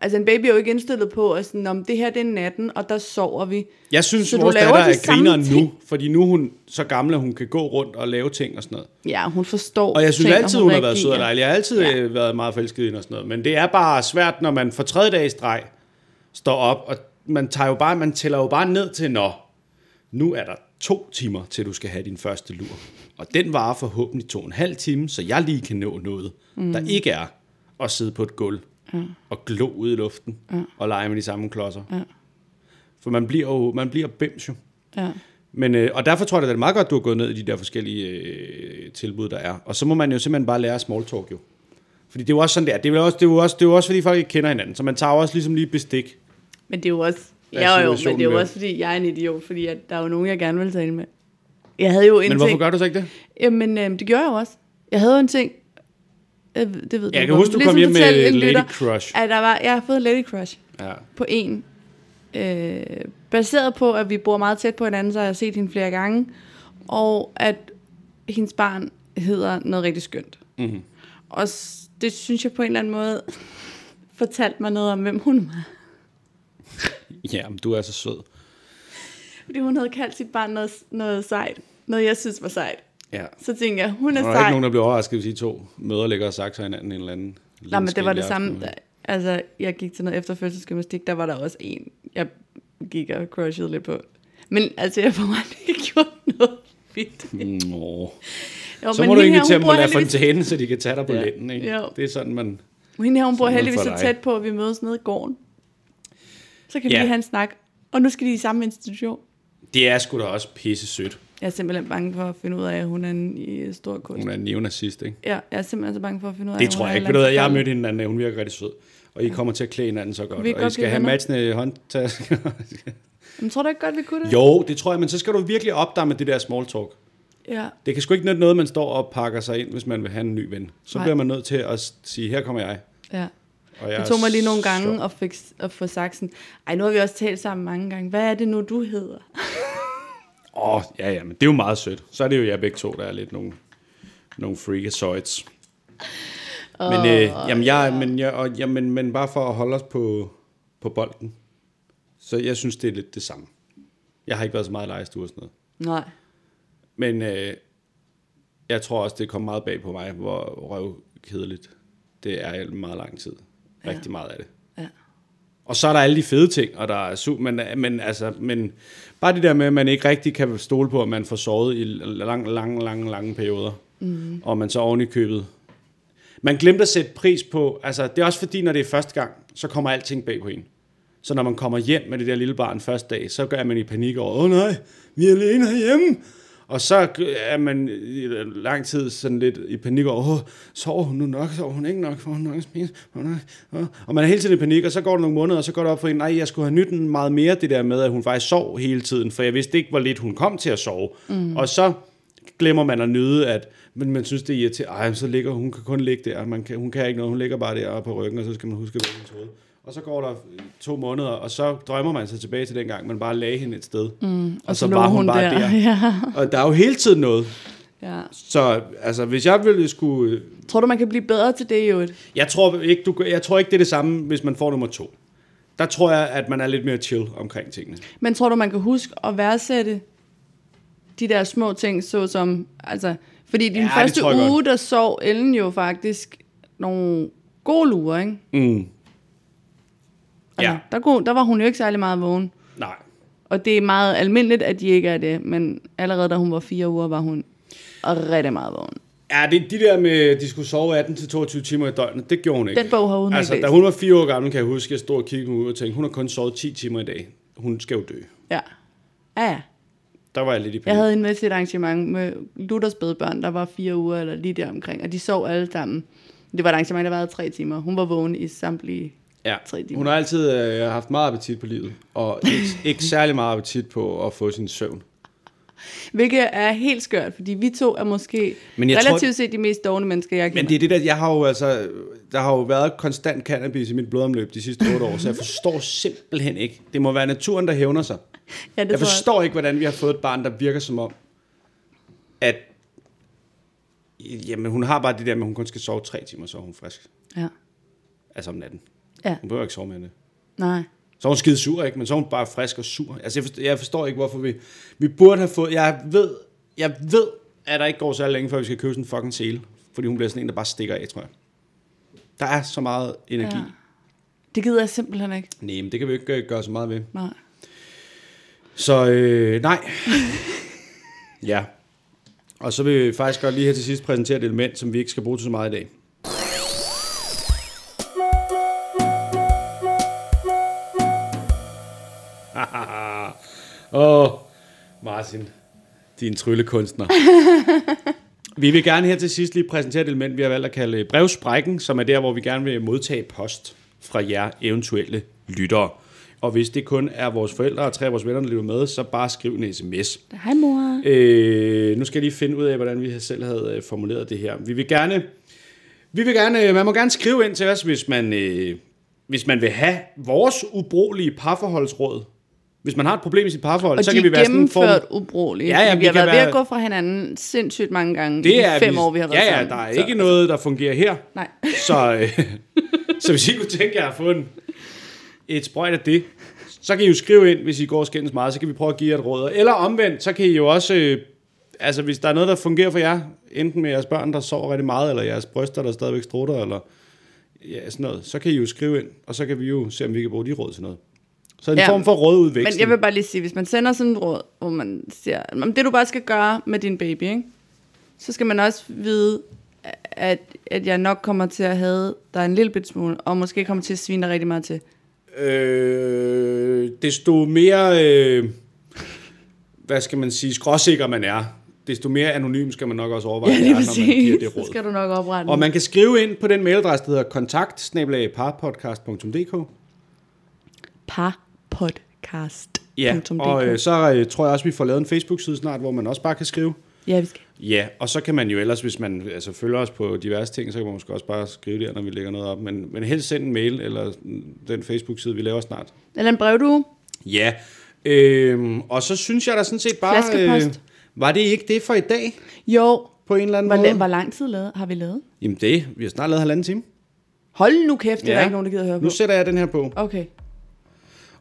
Altså en baby er jo ikke indstillet på, at sådan, om det her det er natten, og der sover vi.
Jeg synes,
Så
så
du
vores
laver
datter
de
er
samme
grineren
ting?
nu, fordi nu er hun så gammel, at hun kan gå rundt og lave ting og sådan noget.
Ja, hun forstår
Og jeg synes
ting,
altid, hun har været sød
reagerer.
og dejlig. Jeg har altid
Ja.
ja. været meget forelsket i hende og sådan noget. Men det er bare svært, når man for tredje dag i streg står op, og man, tager jo bare, man tæller jo bare ned til, nå, nu er der to timer, til du skal have din første lur. Og den varer forhåbentlig to og en halv time, så jeg lige kan nå noget, mm. der ikke er at sidde på et gulv ja. og glo ud i luften ja. og lege med de samme klodser. Ja. For man bliver jo man bliver bims jo.
Ja.
Men, øh, og derfor tror jeg, det er meget godt, du har gået ned i de der forskellige øh, tilbud, der er. Og så må man jo simpelthen bare lære small talk jo. Fordi det er jo også sådan der. Det er jo også, det er jo også, det er jo også fordi folk ikke kender hinanden. Så man tager jo også ligesom lige bestik.
Men det er jo også...
Hvad
Ja,
er
jo, men
situationen
det er jo
med?
også, fordi jeg er en idiot, fordi at der er jo nogen, jeg gerne vil tale med. Jeg havde jo en
Men
ting...
hvorfor gør du så ikke det?
Jamen, øh, det gjorde jeg jo også. Jeg havde jo en ting... Øh, det ved
Jeg
du
kan
godt.
huske, du kom hjem med
fortalte en
lady crush.
At der var, jeg har fået lady crush
Ja.
på en. Øh, baseret på, at vi bor meget tæt på hinanden, så har jeg set hende flere gange. Og at hendes barn hedder noget rigtig skønt. Mm-hmm.
Mhm.
Og s- det synes jeg på en eller anden måde fortalte mig noget om, hvem hun var.
Ja, men du er så sød.
Fordi hun havde kaldt sit barn noget, noget sejt. Noget, jeg synes var sejt.
Ja.
Så tænkte jeg, hun er
Og der er ikke
sej.
nogen, der bliver overrasket, hvis I to møder ligger og sagt hinanden en eller anden.
Nej, men det var det
lidenskabelig
samme.
aften.
Da, altså, jeg gik til noget efterfødselsgymnastik, der var der også en, jeg gik og crushede lidt på. Men altså, jeg får aldrig ikke gjort noget vildt.
Nå.
Jo,
Mm. Så
men
må du
hende
egentlig
her, hun
tage dem
bor
og lade
heldigvis-
fontæne, så de kan tage dig på
Ja.
lænden. Ikke?
Jo.
Det er sådan, man...
Hende her, hun bor
Sådan
heldigvis
for
så
dig.
tæt på, at vi mødes nede i gården. Så kan vi
Ja.
lige have en snak. Og nu skal de i samme institution.
Det er sgu da også pisse sødt.
Jeg er simpelthen bange for at finde ud af, at hun er en i stor kunst.
Hun er en neonazist, ikke?
Ja, jeg er simpelthen så bange for at finde ud af,
Det
at
tror
hun er
jeg ikke. Ved du
halvanden
hvad, jeg har
gammel.
mødt hende den anden, dag. hun virker rigtig sød. Og I kommer til at klæde hinanden så godt.
Vi kan
og I
godt
skal
blive
have
venner.
matchende håndtasker.
Men tror du ikke godt, vi kunne det?
jo, det tror jeg, men så skal du virkelig op der med det der small talk.
Ja.
Det kan sgu ikke nytte noget, man står og pakker sig ind, hvis man vil have en ny ven. Så
Nej.
bliver man nødt til at s- sige, her kommer jeg.
ja.
Og jeg
Det tog mig lige nogle gange
sjov.
at, fik, at få sagt sådan, ej, nu har vi også talt sammen mange gange. Hvad er det nu, du hedder?
Åh, oh, ja, ja, men det er jo meget sødt. Så er det jo jer begge to, der er lidt nogle, nogle freakazoids. Oh, men, øh, jamen, jeg, men, jeg, og, jamen, men bare for at holde os på, på bolden, så jeg synes, det er lidt det samme. Jeg har ikke været så meget i lejestue og sådan noget.
Nej.
Men øh, jeg tror også, det kom meget bag på mig, hvor røvkedeligt det er i meget lang tid. Rigtig ja. meget af det.
Ja.
Og så er der alle de fede ting, og der er su, men, men, altså, men bare det der med, at man ikke rigtig kan stole på, at man får sovet i lang, lang, lang, lange perioder, mm. og man så oven i købet. Man glemte at sætte pris på, altså det er også fordi, når det er første gang, så kommer alting bag på en. Så når man kommer hjem med det der lille barn første dag, så gør man i panik over, åh nej, vi er alene herhjemme. Og så er man i lang tid sådan lidt i panik over, åh, sover hun nu nok, sover hun ikke nok, får hun nok at spise, Får hun nok? Åh. og man er hele tiden i panik, og så går der nogle måneder, og så går det op for en, nej, jeg skulle have nytten meget mere det der med, at hun faktisk sov hele tiden, for jeg vidste ikke, hvor lidt hun kom til at sove. Mm. Og så glemmer man at nyde, at men man synes, det er irriterende. Ej, så ligger hun kan kun ligge der. Man kan, hun kan ikke noget. Hun ligger bare der på ryggen, og så skal man huske at vække hendes hoved. Og så går der øh, to måneder, og så drømmer man sig tilbage til dengang, man bare lagde hende et sted. Mm, og, og så,
så lå
var hun,
hun
bare der.
der.
der. Og der er jo hele tiden noget.
ja.
Så altså, hvis jeg ville skulle...
Tror du, man kan blive bedre til det, jo?
Jeg tror, ikke, du, jeg tror ikke, det er det samme, hvis man får nummer to. Der tror jeg, at man er lidt mere chill omkring tingene.
Men tror du, man kan huske at værdsætte de der små ting, såsom... Altså, fordi din
Ja, det
ja, første
tror jeg
uge,
godt.
der sov Ellen jo faktisk nogle gode lurer, ikke?
Mm.
Altså,
Ja.
der, kunne, der var hun jo ikke særlig meget vågen.
Nej.
Og det er meget almindeligt, at de ikke er det, men allerede da hun var fire uger, var hun rigtig meget vågen.
Ja, det, de der med, de skulle sove 18-22 timer i døgnet, det gjorde hun ikke.
Den bog har hun ikke
Altså, da
læst.
hun var fire år gammel, kan jeg huske, jeg stod og kiggede ud og tænkte, hun har kun sovet 10 timer i dag. Hun skal jo dø.
Ja. Ja, ja.
Der var jeg lidt i panik.
Jeg havde en med til et arrangement med Luthers bedbørn, der var fire uger eller lige der omkring, og de sov alle sammen. Det var et arrangement, der varede tre timer. Hun var vågen i samtlige...
ja.
tre timer.
Hun har altid øh, haft meget appetit på livet, og ikke, ikke særlig meget appetit på at få sin søvn.
Hvilket er helt skørt, fordi vi to er måske
Men
men
jeg
jeg
tror-
relativt tror... set de mest dogne mennesker, jeg kender.
Men det er det der, jeg har jo altså, der har jo været konstant cannabis i mit blodomløb de sidste 8 år, så jeg forstår simpelthen ikke. Det må være naturen, der hævner sig.
ja, det
Jeg
tror
forstår ikke, hvordan vi har fået et barn, der virker som om, at jamen, hun har bare det der med, at hun kun skal sove tre timer, så er hun frisk.
Ja.
Altså om natten.
ja,
Hun behøver ikke sove mere end det.
nej.
Så er hun skide sur, ikke? Men så er hun bare frisk og sur. Altså, jeg forstår, jeg forstår ikke, hvorfor vi... Vi burde have fået... Jeg ved, jeg ved, at der ikke går så længe, før vi skal købe sådan en fucking sele. Fordi hun bliver sådan en, der bare stikker af, tror jeg. Der er så meget energi.
Ja.
Ja.
Det gider jeg simpelthen ikke.
Nej, men det kan vi jo ikke øh, gøre så meget ved.
Nej.
Så øh, nej. ja. Og så vil vi faktisk godt lige her til sidst præsentere et element, som vi ikke skal bruge til så meget i dag. Åh, oh, Martin, din tryllekunstner. vi vil gerne her til sidst lige præsentere et element, vi har valgt at kalde brevsprækken, som er der, hvor vi gerne vil modtage post fra jer eventuelle lyttere. Og hvis det kun er vores forældre og tre af vores venner, der lytter med, så bare skriv en sms.
Hej mor.
Øh, nu skal jeg lige finde ud af, hvordan vi selv havde øh, formuleret det her. Vi vil gerne, vi vil gerne, øh, man må gerne skrive ind til os, hvis man, øh, hvis man vil have vores ubrugelige parforholdsråd. Hvis man har et problem i sit parforhold,
Og
så
de
kan vi
er
være sådan en
gennemført
form...
ubrugelige.
Ja, ja,
fordi
vi
vi har
kan
været ved
være-
at gå fra hinanden sindssygt mange gange det er, i de fem år, vi har været
ja,
sammen.
Ja, der er
Så-
ikke noget, der fungerer her.
Nej.
Så, øh, så hvis I kunne tænke jer at få en, et sprøjt af det, så kan I jo skrive ind, hvis I går og skændes meget, så kan vi prøve at give jer et råd. Eller omvendt, så kan I jo også, øh, altså hvis der er noget, der fungerer for jer, enten med jeres børn, der sover rigtig meget, eller jeres bryster, der stadigvæk strutter, eller ja, sådan noget, så kan I jo skrive ind, og så kan vi jo se, om vi kan bruge de råd til noget. Så en ja,
Ja.
form for rådudveksling.
Men jeg vil bare lige sige, hvis man sender sådan et råd, hvor man siger, om det du bare skal gøre med din baby, ikke? så skal man også vide, at, at jeg nok kommer til at have dig en lille bit smule, og måske kommer til at svine dig rigtig meget til.
øh, desto mere øh, hvad skal man sige, skråsikker man er, desto mere anonym skal man nok også overveje,
Ja,
det er,
lige
når man giver
præcis.
det
Så
råd.
skal du nok oprette
Og
en-
man kan skrive ind på den mailadresse, der hedder kontakt
parpodcast.
Ja,
punktum
og
DK.
øh, så øh, tror jeg også, vi får lavet en Facebook-side snart, hvor man også bare kan skrive.
ja, vi skal.
Ja, og så kan man jo ellers, hvis man altså, følger os på diverse ting, så kan man måske også bare skrive der, når vi lægger noget op. Men, men helst send en mail eller den Facebook-side, vi laver snart.
Eller en brevdue.
Ja, øhm, og så synes jeg da sådan set bare... øh,
Flaskepost.
var det ikke det for i dag
Jo,
på en eller anden
hvor,
måde?
la- hvor lang tid lavet, har vi lavet?
Jamen det, vi har snart lavet halvanden time.
Hold nu kæft, det ja. er der ikke nogen, der gider at høre
Nu
på.
sætter jeg den her på.
Okay.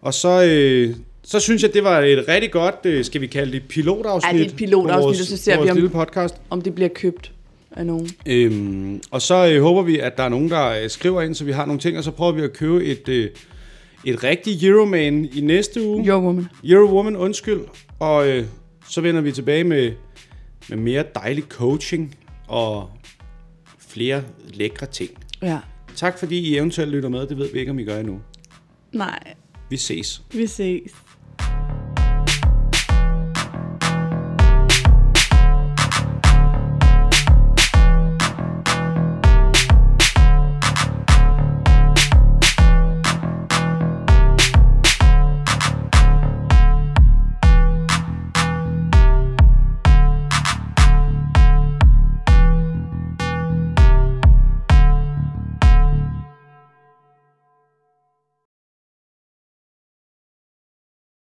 Og så, øh, så synes jeg, det var et rigtig godt, øh, skal vi kalde det pilotafsnit?
Ja, det er et pilotafsnit,
på vores,
og så
på
ser vi,
vores
om-
lille podcast.
Om det bliver købt af nogen.
Øhm, og så øh, håber vi, at der er nogen, der øh, skriver ind, så vi har nogle ting, og så prøver vi at købe et, øh, et rigtigt Euroman i næste uge.
Jo, woman.
Eurowoman, undskyld. Og øh, så vender vi tilbage med, med mere dejlig coaching og flere lækre ting.
Ja.
Tak fordi I eventuelt lytter med. Det ved vi ikke, om I gør endnu.
Nej,
Vi ses.
vi ses.